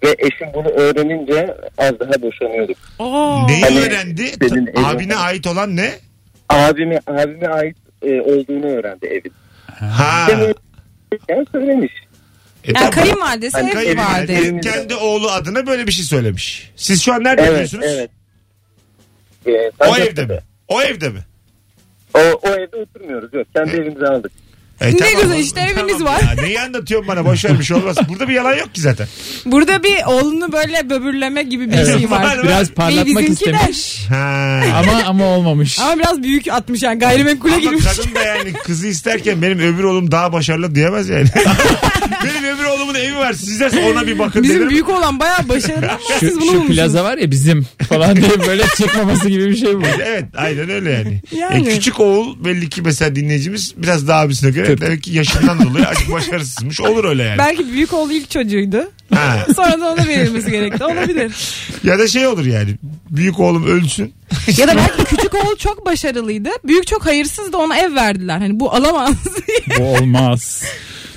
[SPEAKER 11] ve eşim bunu öğrenince az daha boşanıyorduk.
[SPEAKER 3] Oo.
[SPEAKER 2] Neyi
[SPEAKER 11] Hani
[SPEAKER 2] öğrendi?
[SPEAKER 11] senin
[SPEAKER 2] Ta-
[SPEAKER 11] evin-
[SPEAKER 2] Abine ait olan ne?
[SPEAKER 11] Abime abime ait e, olduğunu öğrendi evin.
[SPEAKER 2] Ha.
[SPEAKER 11] Yani söylemiş.
[SPEAKER 2] E,
[SPEAKER 3] Yani
[SPEAKER 2] tamam.
[SPEAKER 3] kayınvalidesi
[SPEAKER 11] Hani
[SPEAKER 3] hep vardı.
[SPEAKER 2] Kayınvalide kendi oğlu adına böyle bir şey söylemiş. Siz şu an nerede
[SPEAKER 11] Evet,
[SPEAKER 2] yaşıyorsunuz?
[SPEAKER 11] evet. Ee,
[SPEAKER 2] O
[SPEAKER 11] Sancaktepe.
[SPEAKER 2] evde mi? O evde mi?
[SPEAKER 11] O, o evde oturmuyoruz. Yok kendi evimize aldık.
[SPEAKER 2] E,
[SPEAKER 3] Ne güzel işte,
[SPEAKER 2] oğlum,
[SPEAKER 3] eviniz
[SPEAKER 2] tamam
[SPEAKER 3] var.
[SPEAKER 2] Ya, neyi anlatıyorsun bana? Boş ver bir şey olmaz. Burada bir yalan yok ki zaten.
[SPEAKER 3] Burada bir oğlunu böyle böbürleme gibi bir şey var.
[SPEAKER 2] Var,
[SPEAKER 4] Biraz parlatmak
[SPEAKER 3] bizimki de.
[SPEAKER 4] istemiş.
[SPEAKER 2] Ha.
[SPEAKER 4] Ama ama olmamış.
[SPEAKER 3] Ama biraz büyük atmış yani gayrimenkule
[SPEAKER 2] Ama
[SPEAKER 3] girmiş.
[SPEAKER 2] kadın da yani kızı isterken benim öbür oğlum daha başarılı diyemez yani. benim öbür oğlumun evi var. Sizler ona bir bakın
[SPEAKER 3] Bizim
[SPEAKER 2] derim.
[SPEAKER 3] büyük olan bayağı başarılı ama siz
[SPEAKER 4] Şu,
[SPEAKER 3] bunu
[SPEAKER 4] şu
[SPEAKER 3] bulmuşsunuz.
[SPEAKER 4] plaza var ya bizim falan diye böyle çıkmaması gibi bir şey bu.
[SPEAKER 2] Evet aynen öyle yani.
[SPEAKER 3] Yani.
[SPEAKER 2] E, küçük oğul belli ki mesela dinleyicimiz biraz daha abisine göre
[SPEAKER 4] Tabii.
[SPEAKER 2] demek ki yaşından dolayı azıcık başarısızmış. Olur öyle yani.
[SPEAKER 3] Belki büyük oğlu ilk çocuğuydu.
[SPEAKER 2] Ha.
[SPEAKER 3] Sonra da ona verilmesi gerekti. Olabilir.
[SPEAKER 2] Ya da şey olur yani. Büyük oğlum ölsün.
[SPEAKER 3] ya da belki küçük oğul çok başarılıydı. Büyük çok hayırsız da ona ev verdiler. Hani bu alamaz diye.
[SPEAKER 4] Bu olmaz.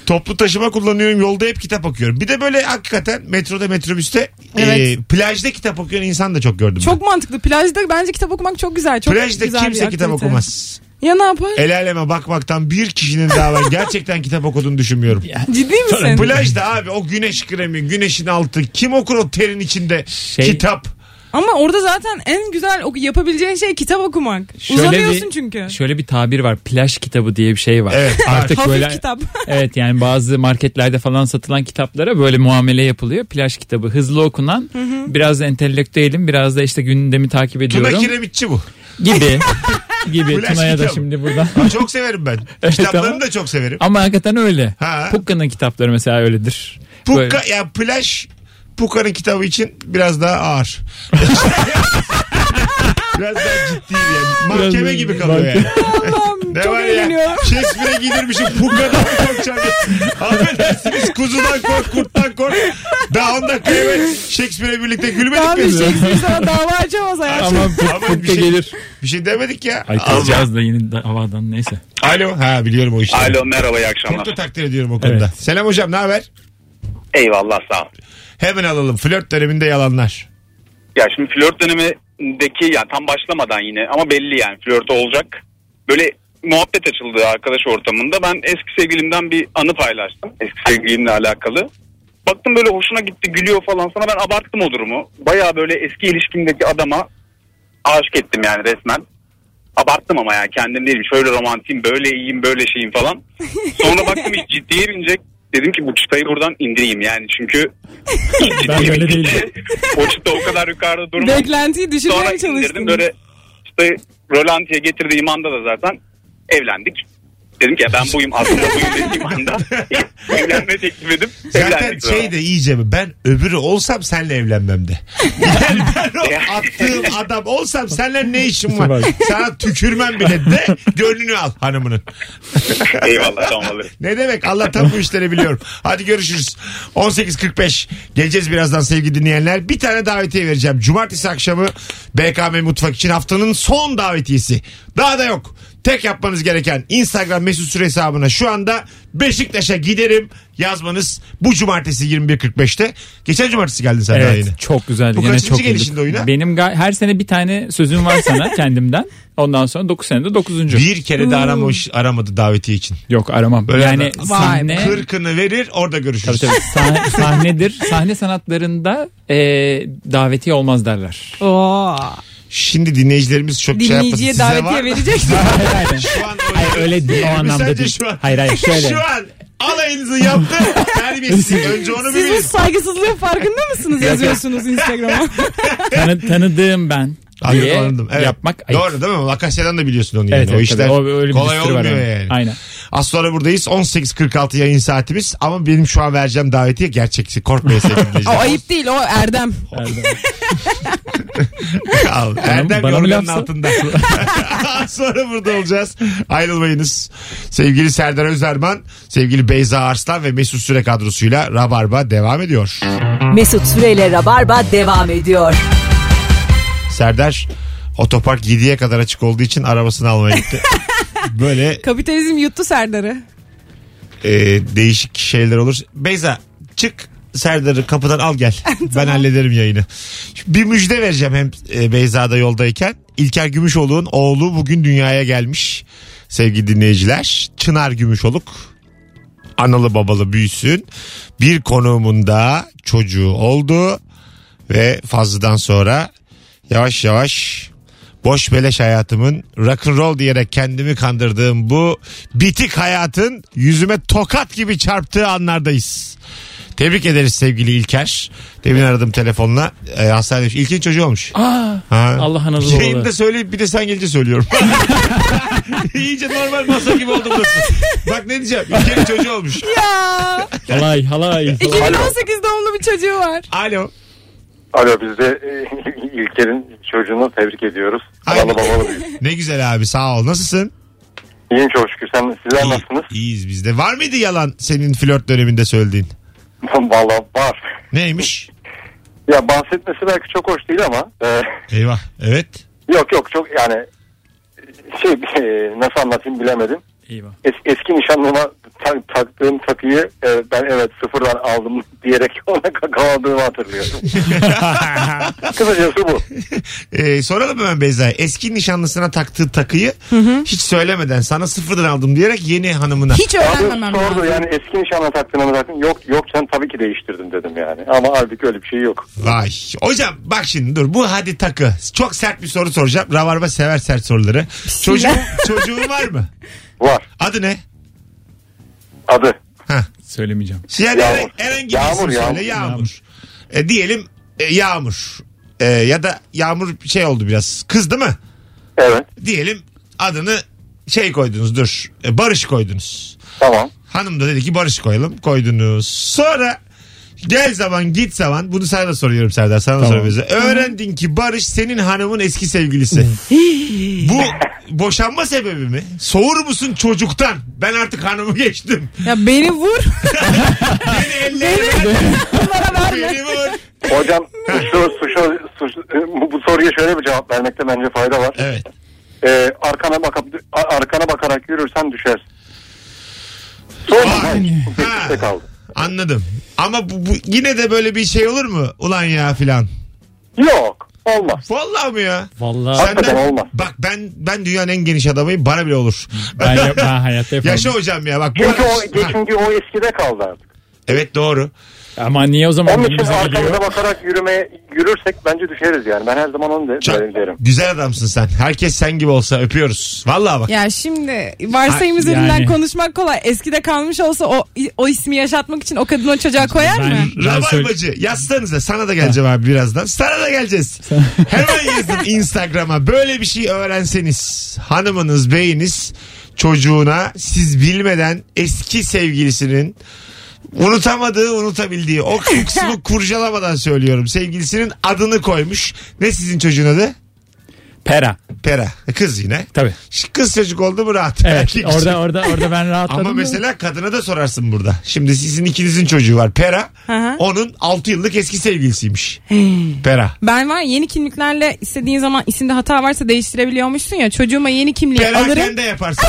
[SPEAKER 2] Toplu taşıma kullanıyorum. Yolda hep kitap okuyorum. Bir de böyle hakikaten metroda metrobüste
[SPEAKER 3] Evet.
[SPEAKER 2] e, plajda kitap okuyan insan da çok gördüm. ben.
[SPEAKER 3] Çok mantıklı. Plajda bence kitap okumak çok güzel. Çok
[SPEAKER 2] Plajda
[SPEAKER 3] güzel bir
[SPEAKER 2] kimse kitap
[SPEAKER 3] aktivite.
[SPEAKER 2] okumaz. E,
[SPEAKER 3] Ya ne yapar?
[SPEAKER 2] El aleme bakmaktan bir kişinin daha var. Gerçekten kitap okuduğunu düşünmüyorum.
[SPEAKER 3] Ciddi misin?
[SPEAKER 2] Plajda abi o güneş kremi, güneşin altı. Kim okur o terin içinde
[SPEAKER 4] Şey-
[SPEAKER 2] kitap?
[SPEAKER 3] Ama orada zaten en güzel oku- yapabileceğin şey kitap okumak. Uzanıyorsun
[SPEAKER 4] bir,
[SPEAKER 3] çünkü.
[SPEAKER 4] Şöyle bir tabir var. Plaj kitabı diye bir şey var.
[SPEAKER 2] Evet, var.
[SPEAKER 4] Artık
[SPEAKER 3] Hafif
[SPEAKER 4] böyle
[SPEAKER 3] kitap.
[SPEAKER 4] Evet yani bazı marketlerde falan satılan kitaplara böyle muamele yapılıyor. Plaj kitabı hızlı okunan biraz da entelektüelim biraz da işte gündemi takip
[SPEAKER 2] Tuna
[SPEAKER 4] ediyorum
[SPEAKER 2] kiremitçi bu.
[SPEAKER 4] gibi gibi
[SPEAKER 2] Plaj
[SPEAKER 4] Tuna'ya da
[SPEAKER 2] kitabı.
[SPEAKER 4] şimdi buradan.
[SPEAKER 2] Çok severim ben.
[SPEAKER 4] Evet,
[SPEAKER 2] Kitaplarını
[SPEAKER 4] tamam.
[SPEAKER 2] da çok severim.
[SPEAKER 4] Ama hakikaten öyle.
[SPEAKER 2] Ha.
[SPEAKER 4] Pukka'nın kitapları mesela öyledir. Böyle-
[SPEAKER 2] Puka, ya plaj Puka'nın kitabı için biraz daha ağır. biraz daha ciddi yani. Mahkeme
[SPEAKER 4] Biraz-
[SPEAKER 2] gibi kalıyor yani.
[SPEAKER 3] Allah'ım
[SPEAKER 2] Ne
[SPEAKER 3] çok
[SPEAKER 2] var ya?
[SPEAKER 3] eğleniyorum.
[SPEAKER 2] Shakespeare'e giydirmişim Puka'dan korkacağım. diye. Affedersiniz kuzudan kork, kurttan kork. Daha 10 dakika evvel Shakespeare'e birlikte
[SPEAKER 3] Daha
[SPEAKER 2] gülmedik
[SPEAKER 3] bir şey-
[SPEAKER 2] mi?
[SPEAKER 3] Shakespeare sana dava açamaz hayatım.
[SPEAKER 4] Ama Puk-
[SPEAKER 2] Ama bir
[SPEAKER 4] Pukka
[SPEAKER 2] şey-
[SPEAKER 4] gelir.
[SPEAKER 2] Bir şey demedik ya.
[SPEAKER 4] Ay kızacağız da yeni da- havadan neyse.
[SPEAKER 2] Alo. Ha biliyorum o işi.
[SPEAKER 11] Alo merhaba iyi
[SPEAKER 2] Çok
[SPEAKER 11] akşamlar.
[SPEAKER 2] da takdir ediyorum o konuda.
[SPEAKER 4] Evet.
[SPEAKER 2] Selam hocam ne haber?
[SPEAKER 11] Eyvallah sağ ol.
[SPEAKER 2] Hemen alalım. Flört döneminde yalanlar.
[SPEAKER 11] Ya şimdi flört dönemindeki ya tam başlamadan yine ama belli yani flört olacak. Böyle muhabbet açıldı arkadaş ortamında. Ben eski sevgilimden bir anı paylaştım. Eski sevgilimle alakalı. Baktım böyle hoşuna gitti gülüyor falan. Sonra ben abarttım o durumu. Baya böyle eski ilişkimdeki adama aşık ettim yani resmen. Abarttım ama ya kendim değilim. Şöyle romantiyim, böyle iyiyim, böyle şeyim falan. Sonra baktım hiç ciddiye binecek. Dedim ki bu çıtayı buradan indireyim yani çünkü
[SPEAKER 4] Ben böyle değilim.
[SPEAKER 11] o çıta o kadar yukarıda durmaz.
[SPEAKER 3] Beklentiyi düşürmeye
[SPEAKER 11] Sonra
[SPEAKER 3] çalıştım.
[SPEAKER 11] indirdim böyle işte Rolanti'ye getirdiğim anda da zaten evlendik. Dedim ki ya ben buyum aslında buyum dediğim anda evlenme teklif edip
[SPEAKER 2] Zaten
[SPEAKER 11] evlendik.
[SPEAKER 2] şey de iyice ben öbürü olsam senle evlenmem de. Yani ben o attığım adam olsam senle ne işim var? Sana tükürmem bile de gönlünü al hanımının.
[SPEAKER 11] Eyvallah tamam olur.
[SPEAKER 2] Ne demek Allah'tan bu işleri biliyorum. Hadi görüşürüz. 18.45 geleceğiz birazdan sevgili dinleyenler. Bir tane davetiye vereceğim. Cumartesi akşamı BKM Mutfak için haftanın son davetiyesi. Daha da yok. Tek yapmanız gereken Instagram mesut süre hesabına şu anda Beşiktaş'a giderim yazmanız bu cumartesi 21.45'te. Geçen cumartesi geldin sen daha
[SPEAKER 4] Evet
[SPEAKER 2] yeni.
[SPEAKER 4] çok güzeldi.
[SPEAKER 2] Bu
[SPEAKER 4] Yine
[SPEAKER 2] kaçıncı
[SPEAKER 4] çok güldük.
[SPEAKER 2] gelişinde oyuna?
[SPEAKER 4] Benim ga- her sene bir tane sözüm var sana kendimden. Ondan sonra 9 senede 9.
[SPEAKER 2] Bir kere de aramamış, aramadı davetiye için.
[SPEAKER 4] Yok aramam.
[SPEAKER 2] Böyle
[SPEAKER 4] yani
[SPEAKER 2] adam-
[SPEAKER 3] Hmm. Vay be.
[SPEAKER 4] sahne,
[SPEAKER 2] Kırkını verir orada görüşürüz.
[SPEAKER 4] Tabii tabii. Sah- sahnedir. Sahne sanatlarında e, davetiye olmaz derler.
[SPEAKER 3] Oo.
[SPEAKER 2] Şimdi dinleyicilerimiz çok şey yapmasın.
[SPEAKER 3] Dinleyiciye
[SPEAKER 2] Şey Size
[SPEAKER 3] davetiye
[SPEAKER 2] var mı?
[SPEAKER 3] vereceksin.
[SPEAKER 2] Şu an
[SPEAKER 4] Hayır öyle değil. O
[SPEAKER 2] Yani
[SPEAKER 4] anlamda
[SPEAKER 2] sence
[SPEAKER 4] değil.
[SPEAKER 2] şu an-
[SPEAKER 4] Hayır hayır şöyle.
[SPEAKER 2] Şu an alayınızı yaptı. Terbiyesiz. Önce onu
[SPEAKER 3] Siz bu
[SPEAKER 2] biliriz.
[SPEAKER 3] saygısızlığın farkında mısınız yazıyorsunuz Instagram'a?
[SPEAKER 4] Tanı- tanıdığım ben diye yapmak ayıp.
[SPEAKER 2] Doğru değil mi? Akasya'dan da biliyorsun onu
[SPEAKER 4] Evet,
[SPEAKER 2] yani.
[SPEAKER 4] evet,
[SPEAKER 2] o işler
[SPEAKER 4] tabii. O öyle bir
[SPEAKER 2] kolay
[SPEAKER 4] distri var
[SPEAKER 2] olmuyor
[SPEAKER 4] ama.
[SPEAKER 2] yani.
[SPEAKER 4] Aynen.
[SPEAKER 2] Az sonra buradayız. 18.46 yayın saatimiz. Ama benim şu an vereceğim davetiye gerçekçi. Korkmayın sevgili
[SPEAKER 3] o
[SPEAKER 2] dinleyiciler.
[SPEAKER 3] ayıp değil o Erdem.
[SPEAKER 2] Al. Erdem
[SPEAKER 4] bana mı
[SPEAKER 2] yorganın
[SPEAKER 4] lafsa?
[SPEAKER 2] altında. Az sonra burada olacağız. Ayrılmayınız. Sevgili Serdar Özerman, sevgili Beyza Arslan ve Mesut Süre kadrosuyla Rabarba devam ediyor.
[SPEAKER 1] Mesut Süreyle Rabarba devam ediyor.
[SPEAKER 2] Serdar otopark 7'ye kadar açık olduğu için arabasını almaya gitti. Böyle
[SPEAKER 3] Kapitalizm yuttu Serdar'ı.
[SPEAKER 2] e, değişik şeyler olur. Beyza çık Serdar'ı kapıdan al gel. Ben hallederim yayını. Şimdi Bir müjde vereceğim hem e, Beyza'da yoldayken. İlker Gümüşoluk'un oğlu bugün dünyaya gelmiş. Sevgili dinleyiciler. Çınar Gümüşoluk analı babalı büyüsün. Bir konuğumunda çocuğu oldu ve fazladan sonra yavaş yavaş boş beleş hayatımın rock and roll diyerek kendimi kandırdığım bu bitik hayatın yüzüme tokat gibi çarptığı anlardayız. Tebrik ederiz sevgili İlker. Demin aradım telefonla. E, hastanedeymiş. İlker'in çocuğu olmuş.
[SPEAKER 4] Aa,
[SPEAKER 2] Ha.
[SPEAKER 4] Ah, Allah analı babalı.
[SPEAKER 2] Yayında söyleyip bir de sen gelince söylüyorum. İyice normal masa gibi oldu burası. Bak ne diyeceğim. İlker'in çocuğu olmuş.
[SPEAKER 3] Ya
[SPEAKER 4] halay halay.
[SPEAKER 3] 2018 doğumlu bir çocuğu var.
[SPEAKER 2] Alo.
[SPEAKER 7] Alo biz de e, İlker'in çocuğunu tebrik ediyoruz.
[SPEAKER 2] Aynen. Analı
[SPEAKER 7] babalı
[SPEAKER 2] Ne güzel abi sağ ol. Nasılsın?
[SPEAKER 7] İyiyim çok şükür. Sen, sizler nasılsınız?
[SPEAKER 2] iyiyiz biz de. Var mıydı yalan senin flört döneminde söylediğin?
[SPEAKER 7] Valla var.
[SPEAKER 2] Neymiş?
[SPEAKER 7] Ya bahsetmesi belki çok hoş değil ama e,
[SPEAKER 2] Eyvah. Evet.
[SPEAKER 7] yok yok çok yani şey e, nasıl anlatayım bilemedim.
[SPEAKER 4] Eyvah.
[SPEAKER 7] Es- eski nişanlıma ta- taktığım takıyı e, ben evet sıfırdan aldım diyerek ona kakaladığımı hatırlıyorum. Kısacası bu.
[SPEAKER 2] Ee, soralım hemen Beyza'ya. Eski nişanlısına taktığı takıyı hiç söylemeden sana sıfırdan aldım diyerek yeni hanımına.
[SPEAKER 3] Hiç öğrenmemem
[SPEAKER 7] Abi sordu
[SPEAKER 3] lazım.
[SPEAKER 7] yani eski nişanla taktığını mı taktın? Yok yok sen tabii ki değiştirdim dedim yani. Ama halbuki öyle bir şey yok.
[SPEAKER 2] Vay. Hocam bak şimdi dur bu hadi takı. Çok sert bir soru soracağım. Ravarba sever sert soruları. Çocuğun, çocuğun var mı?
[SPEAKER 7] Var.
[SPEAKER 2] Adı ne?
[SPEAKER 7] Adı.
[SPEAKER 4] Söylemeyeceğim.
[SPEAKER 2] Yani
[SPEAKER 7] Yağmur.
[SPEAKER 2] herhangi- herhangi bir
[SPEAKER 7] Yağmur,
[SPEAKER 2] isim
[SPEAKER 7] yağmur.
[SPEAKER 2] söyle. Yağmur. E, diyelim e, Yağmur. E, ya da Yağmur şey oldu biraz. Kız değil mi?
[SPEAKER 7] Evet.
[SPEAKER 2] Diyelim adını şey koydunuz dur. E, Barış koydunuz.
[SPEAKER 7] Tamam.
[SPEAKER 2] Hanım da dedi ki Barış koyalım. Koydunuz. Sonra gel zaman git zaman bunu sana da soruyorum Serdar sana da soruyorum. bize. Öğrendin ki Barış senin hanımın eski sevgilisi. Bu boşanma sebebi mi? Soğur musun çocuktan? Ben artık hanımı geçtim.
[SPEAKER 3] Ya beni vur.
[SPEAKER 2] Beni ellerine Beni vur.
[SPEAKER 7] Hocam şu, şu, bu soruya şöyle bir cevap vermekte bence fayda var.
[SPEAKER 2] Evet.
[SPEAKER 7] Ee, arkana bakıp a- arkana bakarak yürürsen düşersin. Son
[SPEAKER 2] Vay.
[SPEAKER 7] hayır, bu
[SPEAKER 2] Ha.
[SPEAKER 7] teklifte kaldı.
[SPEAKER 2] Anladım. Ama bu, bu yine de böyle bir şey olur mu? Ulan ya filan.
[SPEAKER 7] Yok olmaz.
[SPEAKER 2] Vallahi mı ya?
[SPEAKER 4] Vallahi
[SPEAKER 7] Hakikaten olmaz.
[SPEAKER 2] Bak ben ben dünyanın en geniş adamıyım. Bana bile olur.
[SPEAKER 4] ben, yap- ben hayatta yapamam.
[SPEAKER 2] Yaşa hocam ya bak. bu-
[SPEAKER 7] Çünkü o
[SPEAKER 2] Ha,
[SPEAKER 7] çünkü o eskide kaldı artık.
[SPEAKER 2] evet doğru.
[SPEAKER 4] Ama niye o zaman
[SPEAKER 12] Onun için
[SPEAKER 4] önümüze gidiyor?
[SPEAKER 12] arkamıza bakarak yürüme, yürürsek bence düşeriz yani. Ben her zaman onu de,
[SPEAKER 2] Çok-
[SPEAKER 12] böyle derim.
[SPEAKER 2] Güzel adamsın sen. Herkes sen gibi olsa öpüyoruz. Vallahi bak.
[SPEAKER 3] Ya şimdi varsayım
[SPEAKER 2] Ha,
[SPEAKER 3] üzerinden
[SPEAKER 4] yani.
[SPEAKER 3] konuşmak kolay. Eskide kalmış olsa o o ismi yaşatmak için o kadın o çocuğa koyar
[SPEAKER 4] Ben-
[SPEAKER 3] mı?
[SPEAKER 4] ben söyle-
[SPEAKER 2] Rabarbacı yazsanıza sana da geleceğim abi birazdan. Sana da geleceğiz. Hemen yazın Instagram'a. Böyle bir şey öğrenseniz hanımınız, beyiniz çocuğuna siz bilmeden eski sevgilisinin unutamadığı, unutabildiği o kısmı kurcalamadan söylüyorum. Sevgilisinin adını koymuş. Ne sizin çocuğun adı?
[SPEAKER 4] Pera.
[SPEAKER 2] Pera. Kız yine.
[SPEAKER 4] Tabii.
[SPEAKER 2] Kız çocuk oldu mu rahat.
[SPEAKER 4] Evet.
[SPEAKER 2] Erkek
[SPEAKER 4] orada orada orada ben rahatladım.
[SPEAKER 2] Ama
[SPEAKER 4] da.
[SPEAKER 2] mesela kadına da sorarsın burada. Şimdi sizin ikinizin çocuğu var. Pera.
[SPEAKER 3] hı.
[SPEAKER 2] Onun 6 yıllık eski sevgilisiymiş. Pera.
[SPEAKER 3] Ben var ya, yeni kimliklerle istediğin zaman isimde hata varsa değiştirebiliyormuşsun ya. Çocuğuma yeni kimliği alırım.
[SPEAKER 2] Peraken de yaparsın.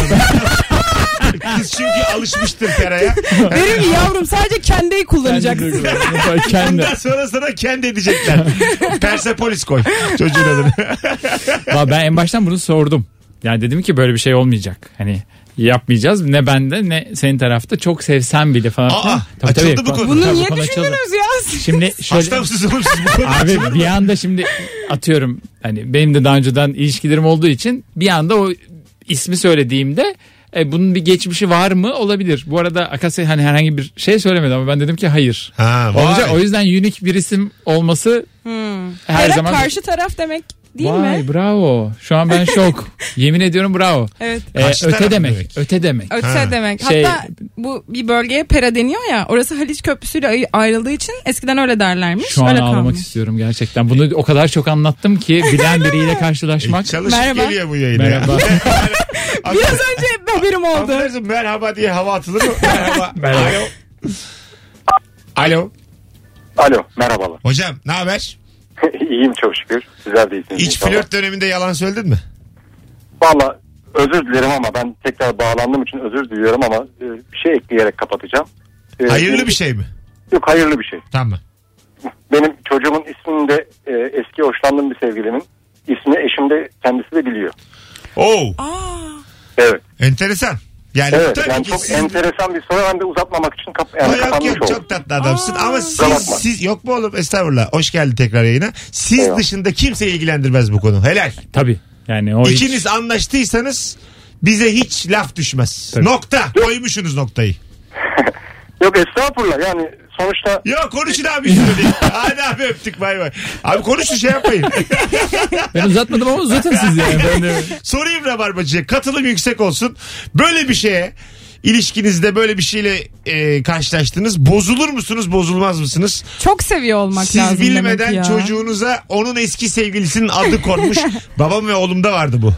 [SPEAKER 2] Kız çünkü alışmıştır Pera'ya.
[SPEAKER 3] Derim ki yavrum sadece kendiyi kullanacaksın.
[SPEAKER 4] Kendi duygularını, kendi.
[SPEAKER 2] Ondan sonra sana kendi edecekler. Persepolis koy çocuğun adını.
[SPEAKER 4] Valla ben en baştan bunu sordum. Yani dedim ki böyle bir şey olmayacak. Hani yapmayacağız. Ne bende ne senin tarafta. Çok sevsem bile falan.
[SPEAKER 2] Aa, açıldı bu konu.
[SPEAKER 3] Bunu
[SPEAKER 4] Tabii,
[SPEAKER 3] niye
[SPEAKER 4] konu açıldı.
[SPEAKER 3] düşündünüz ya?
[SPEAKER 4] Şimdi şöyle
[SPEAKER 2] Hasta mısınız oğlum siz bu konuda?
[SPEAKER 4] Abi bir anda şimdi atıyorum hani benim de daha önceden ilişkilerim olduğu için bir anda o ismi söylediğimde e, bunun bir geçmişi var mı olabilir. Bu arada Akasya hani herhangi bir şey söylemedi ama ben dedim ki hayır.
[SPEAKER 2] Ha, vay.
[SPEAKER 4] Olacak. O yüzden unik bir isim olması her
[SPEAKER 3] Pera
[SPEAKER 4] zaman
[SPEAKER 3] Hmm. karşı taraf demek değil
[SPEAKER 4] Vay
[SPEAKER 3] mi?
[SPEAKER 4] bravo. Şu an ben şok. Yemin ediyorum bravo.
[SPEAKER 3] Evet.
[SPEAKER 4] E,
[SPEAKER 2] Karşı
[SPEAKER 4] öte
[SPEAKER 2] taraf
[SPEAKER 4] demek.
[SPEAKER 2] demek.
[SPEAKER 4] Öte demek.
[SPEAKER 3] Ötse
[SPEAKER 2] Ha.
[SPEAKER 3] demek.
[SPEAKER 4] Şey-
[SPEAKER 3] Hatta bu bir bölgeye pera deniyor ya. Orası Haliç Köprüsü'yle ay- ayrıldığı için eskiden öyle derlermiş.
[SPEAKER 4] Şu an
[SPEAKER 3] öyle
[SPEAKER 4] ağlamak
[SPEAKER 3] kalmış.
[SPEAKER 4] istiyorum gerçekten. Bunu o kadar çok anlattım ki bilen biriyle karşılaşmak.
[SPEAKER 2] Çalışıp
[SPEAKER 3] Merhaba.
[SPEAKER 2] geliyor bu yayına.
[SPEAKER 4] Merhaba.
[SPEAKER 3] Biraz önce haberim oldu.
[SPEAKER 2] Anlarsın merhaba diye hava atılır mı? Merhaba. Alo. Alo.
[SPEAKER 12] Alo merhabalar.
[SPEAKER 2] Hocam ne haber?
[SPEAKER 12] İyiyim çok şükür. Sizler de iyisiniz.
[SPEAKER 2] Hiç
[SPEAKER 12] inşallah.
[SPEAKER 2] flört döneminde yalan söyledin mi?
[SPEAKER 12] Valla özür dilerim ama ben tekrar bağlandığım için özür diliyorum ama e, bir şey ekleyerek kapatacağım. E,
[SPEAKER 2] Hayırlı
[SPEAKER 12] benim-
[SPEAKER 2] bir şey mi?
[SPEAKER 12] Yok hayırlı bir şey.
[SPEAKER 2] Tamam.
[SPEAKER 12] Benim çocuğumun ismini de e, eski hoşlandığım bir sevgilimin ismini eşim de kendisi de biliyor.
[SPEAKER 2] Oo,
[SPEAKER 12] Evet.
[SPEAKER 2] enteresan. Yani
[SPEAKER 12] Evet.
[SPEAKER 2] tabii
[SPEAKER 12] yani
[SPEAKER 2] ki
[SPEAKER 12] çok
[SPEAKER 2] siz-
[SPEAKER 12] enteresan bir soru hem de uzatmamak için kap
[SPEAKER 2] Ama
[SPEAKER 12] yani
[SPEAKER 2] yok
[SPEAKER 12] kapanmış
[SPEAKER 2] yok
[SPEAKER 12] şey oldu.
[SPEAKER 2] çok tatlı adamsın ama
[SPEAKER 12] Kusura
[SPEAKER 2] siz,
[SPEAKER 12] bakma.
[SPEAKER 2] siz yok mu oğlum estağfurullah hoş geldin tekrar yayına. Siz
[SPEAKER 12] Eyvallah.
[SPEAKER 2] dışında kimse ilgilendirmez bu konu helal.
[SPEAKER 4] Tabii. Yani o hiç-
[SPEAKER 2] İkiniz anlaştıysanız bize hiç laf düşmez.
[SPEAKER 4] Tabii.
[SPEAKER 2] Nokta koymuşsunuz noktayı.
[SPEAKER 12] Yok estağfurullah yani sonuçta
[SPEAKER 2] Ya konuşun abi şöyle. Hadi abi öptük bay bay. Abi konuşun şey yapmayın.
[SPEAKER 4] Ben uzatmadım ama uzatın siz yani. Ben de...
[SPEAKER 2] Sorayım Rabarbacı'ya katılım yüksek olsun. Böyle bir şeye ilişkinizde böyle bir şeyle e, karşılaştınız. Bozulur musunuz bozulmaz mısınız?
[SPEAKER 3] Çok seviyor olmak
[SPEAKER 2] Siz
[SPEAKER 3] lazım demek
[SPEAKER 2] bilmeden
[SPEAKER 3] ya.
[SPEAKER 2] çocuğunuza onun eski sevgilisinin adı konmuş. Babam ve oğlumda vardı bu.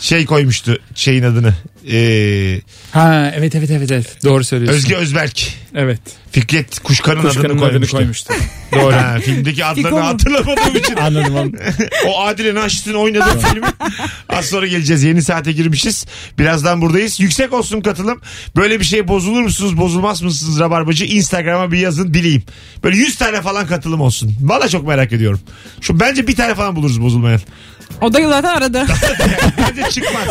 [SPEAKER 2] Şey koymuştu şeyin adını. Ee,
[SPEAKER 4] Ha evet evet evet evet. Doğru söylüyorsun.
[SPEAKER 2] Özge Özberk.
[SPEAKER 4] Evet.
[SPEAKER 2] Fikret Kuşkan'ın,
[SPEAKER 4] Kuşkanın
[SPEAKER 2] adını
[SPEAKER 4] adını
[SPEAKER 2] koymuştu.
[SPEAKER 4] koymuştu. Doğru.
[SPEAKER 2] Ha, filmdeki adlarını
[SPEAKER 3] Fiko mu?
[SPEAKER 2] hatırlamadığım için.
[SPEAKER 4] Anladım anladım.
[SPEAKER 2] O Adile Naşit'in oynadığı filmi. Az sonra geleceğiz. Yeni saate girmişiz. Birazdan buradayız. Yüksek olsun katılım. Böyle bir şey bozulur musunuz? Bozulmaz mısınız Rabarbacı? Instagram'a bir yazın dileyim. Böyle 100 tane falan katılım olsun. Valla çok merak ediyorum. Şu bence bir tane falan buluruz bozulmayan.
[SPEAKER 3] O da zaten aradı.
[SPEAKER 2] bence çıkmaz.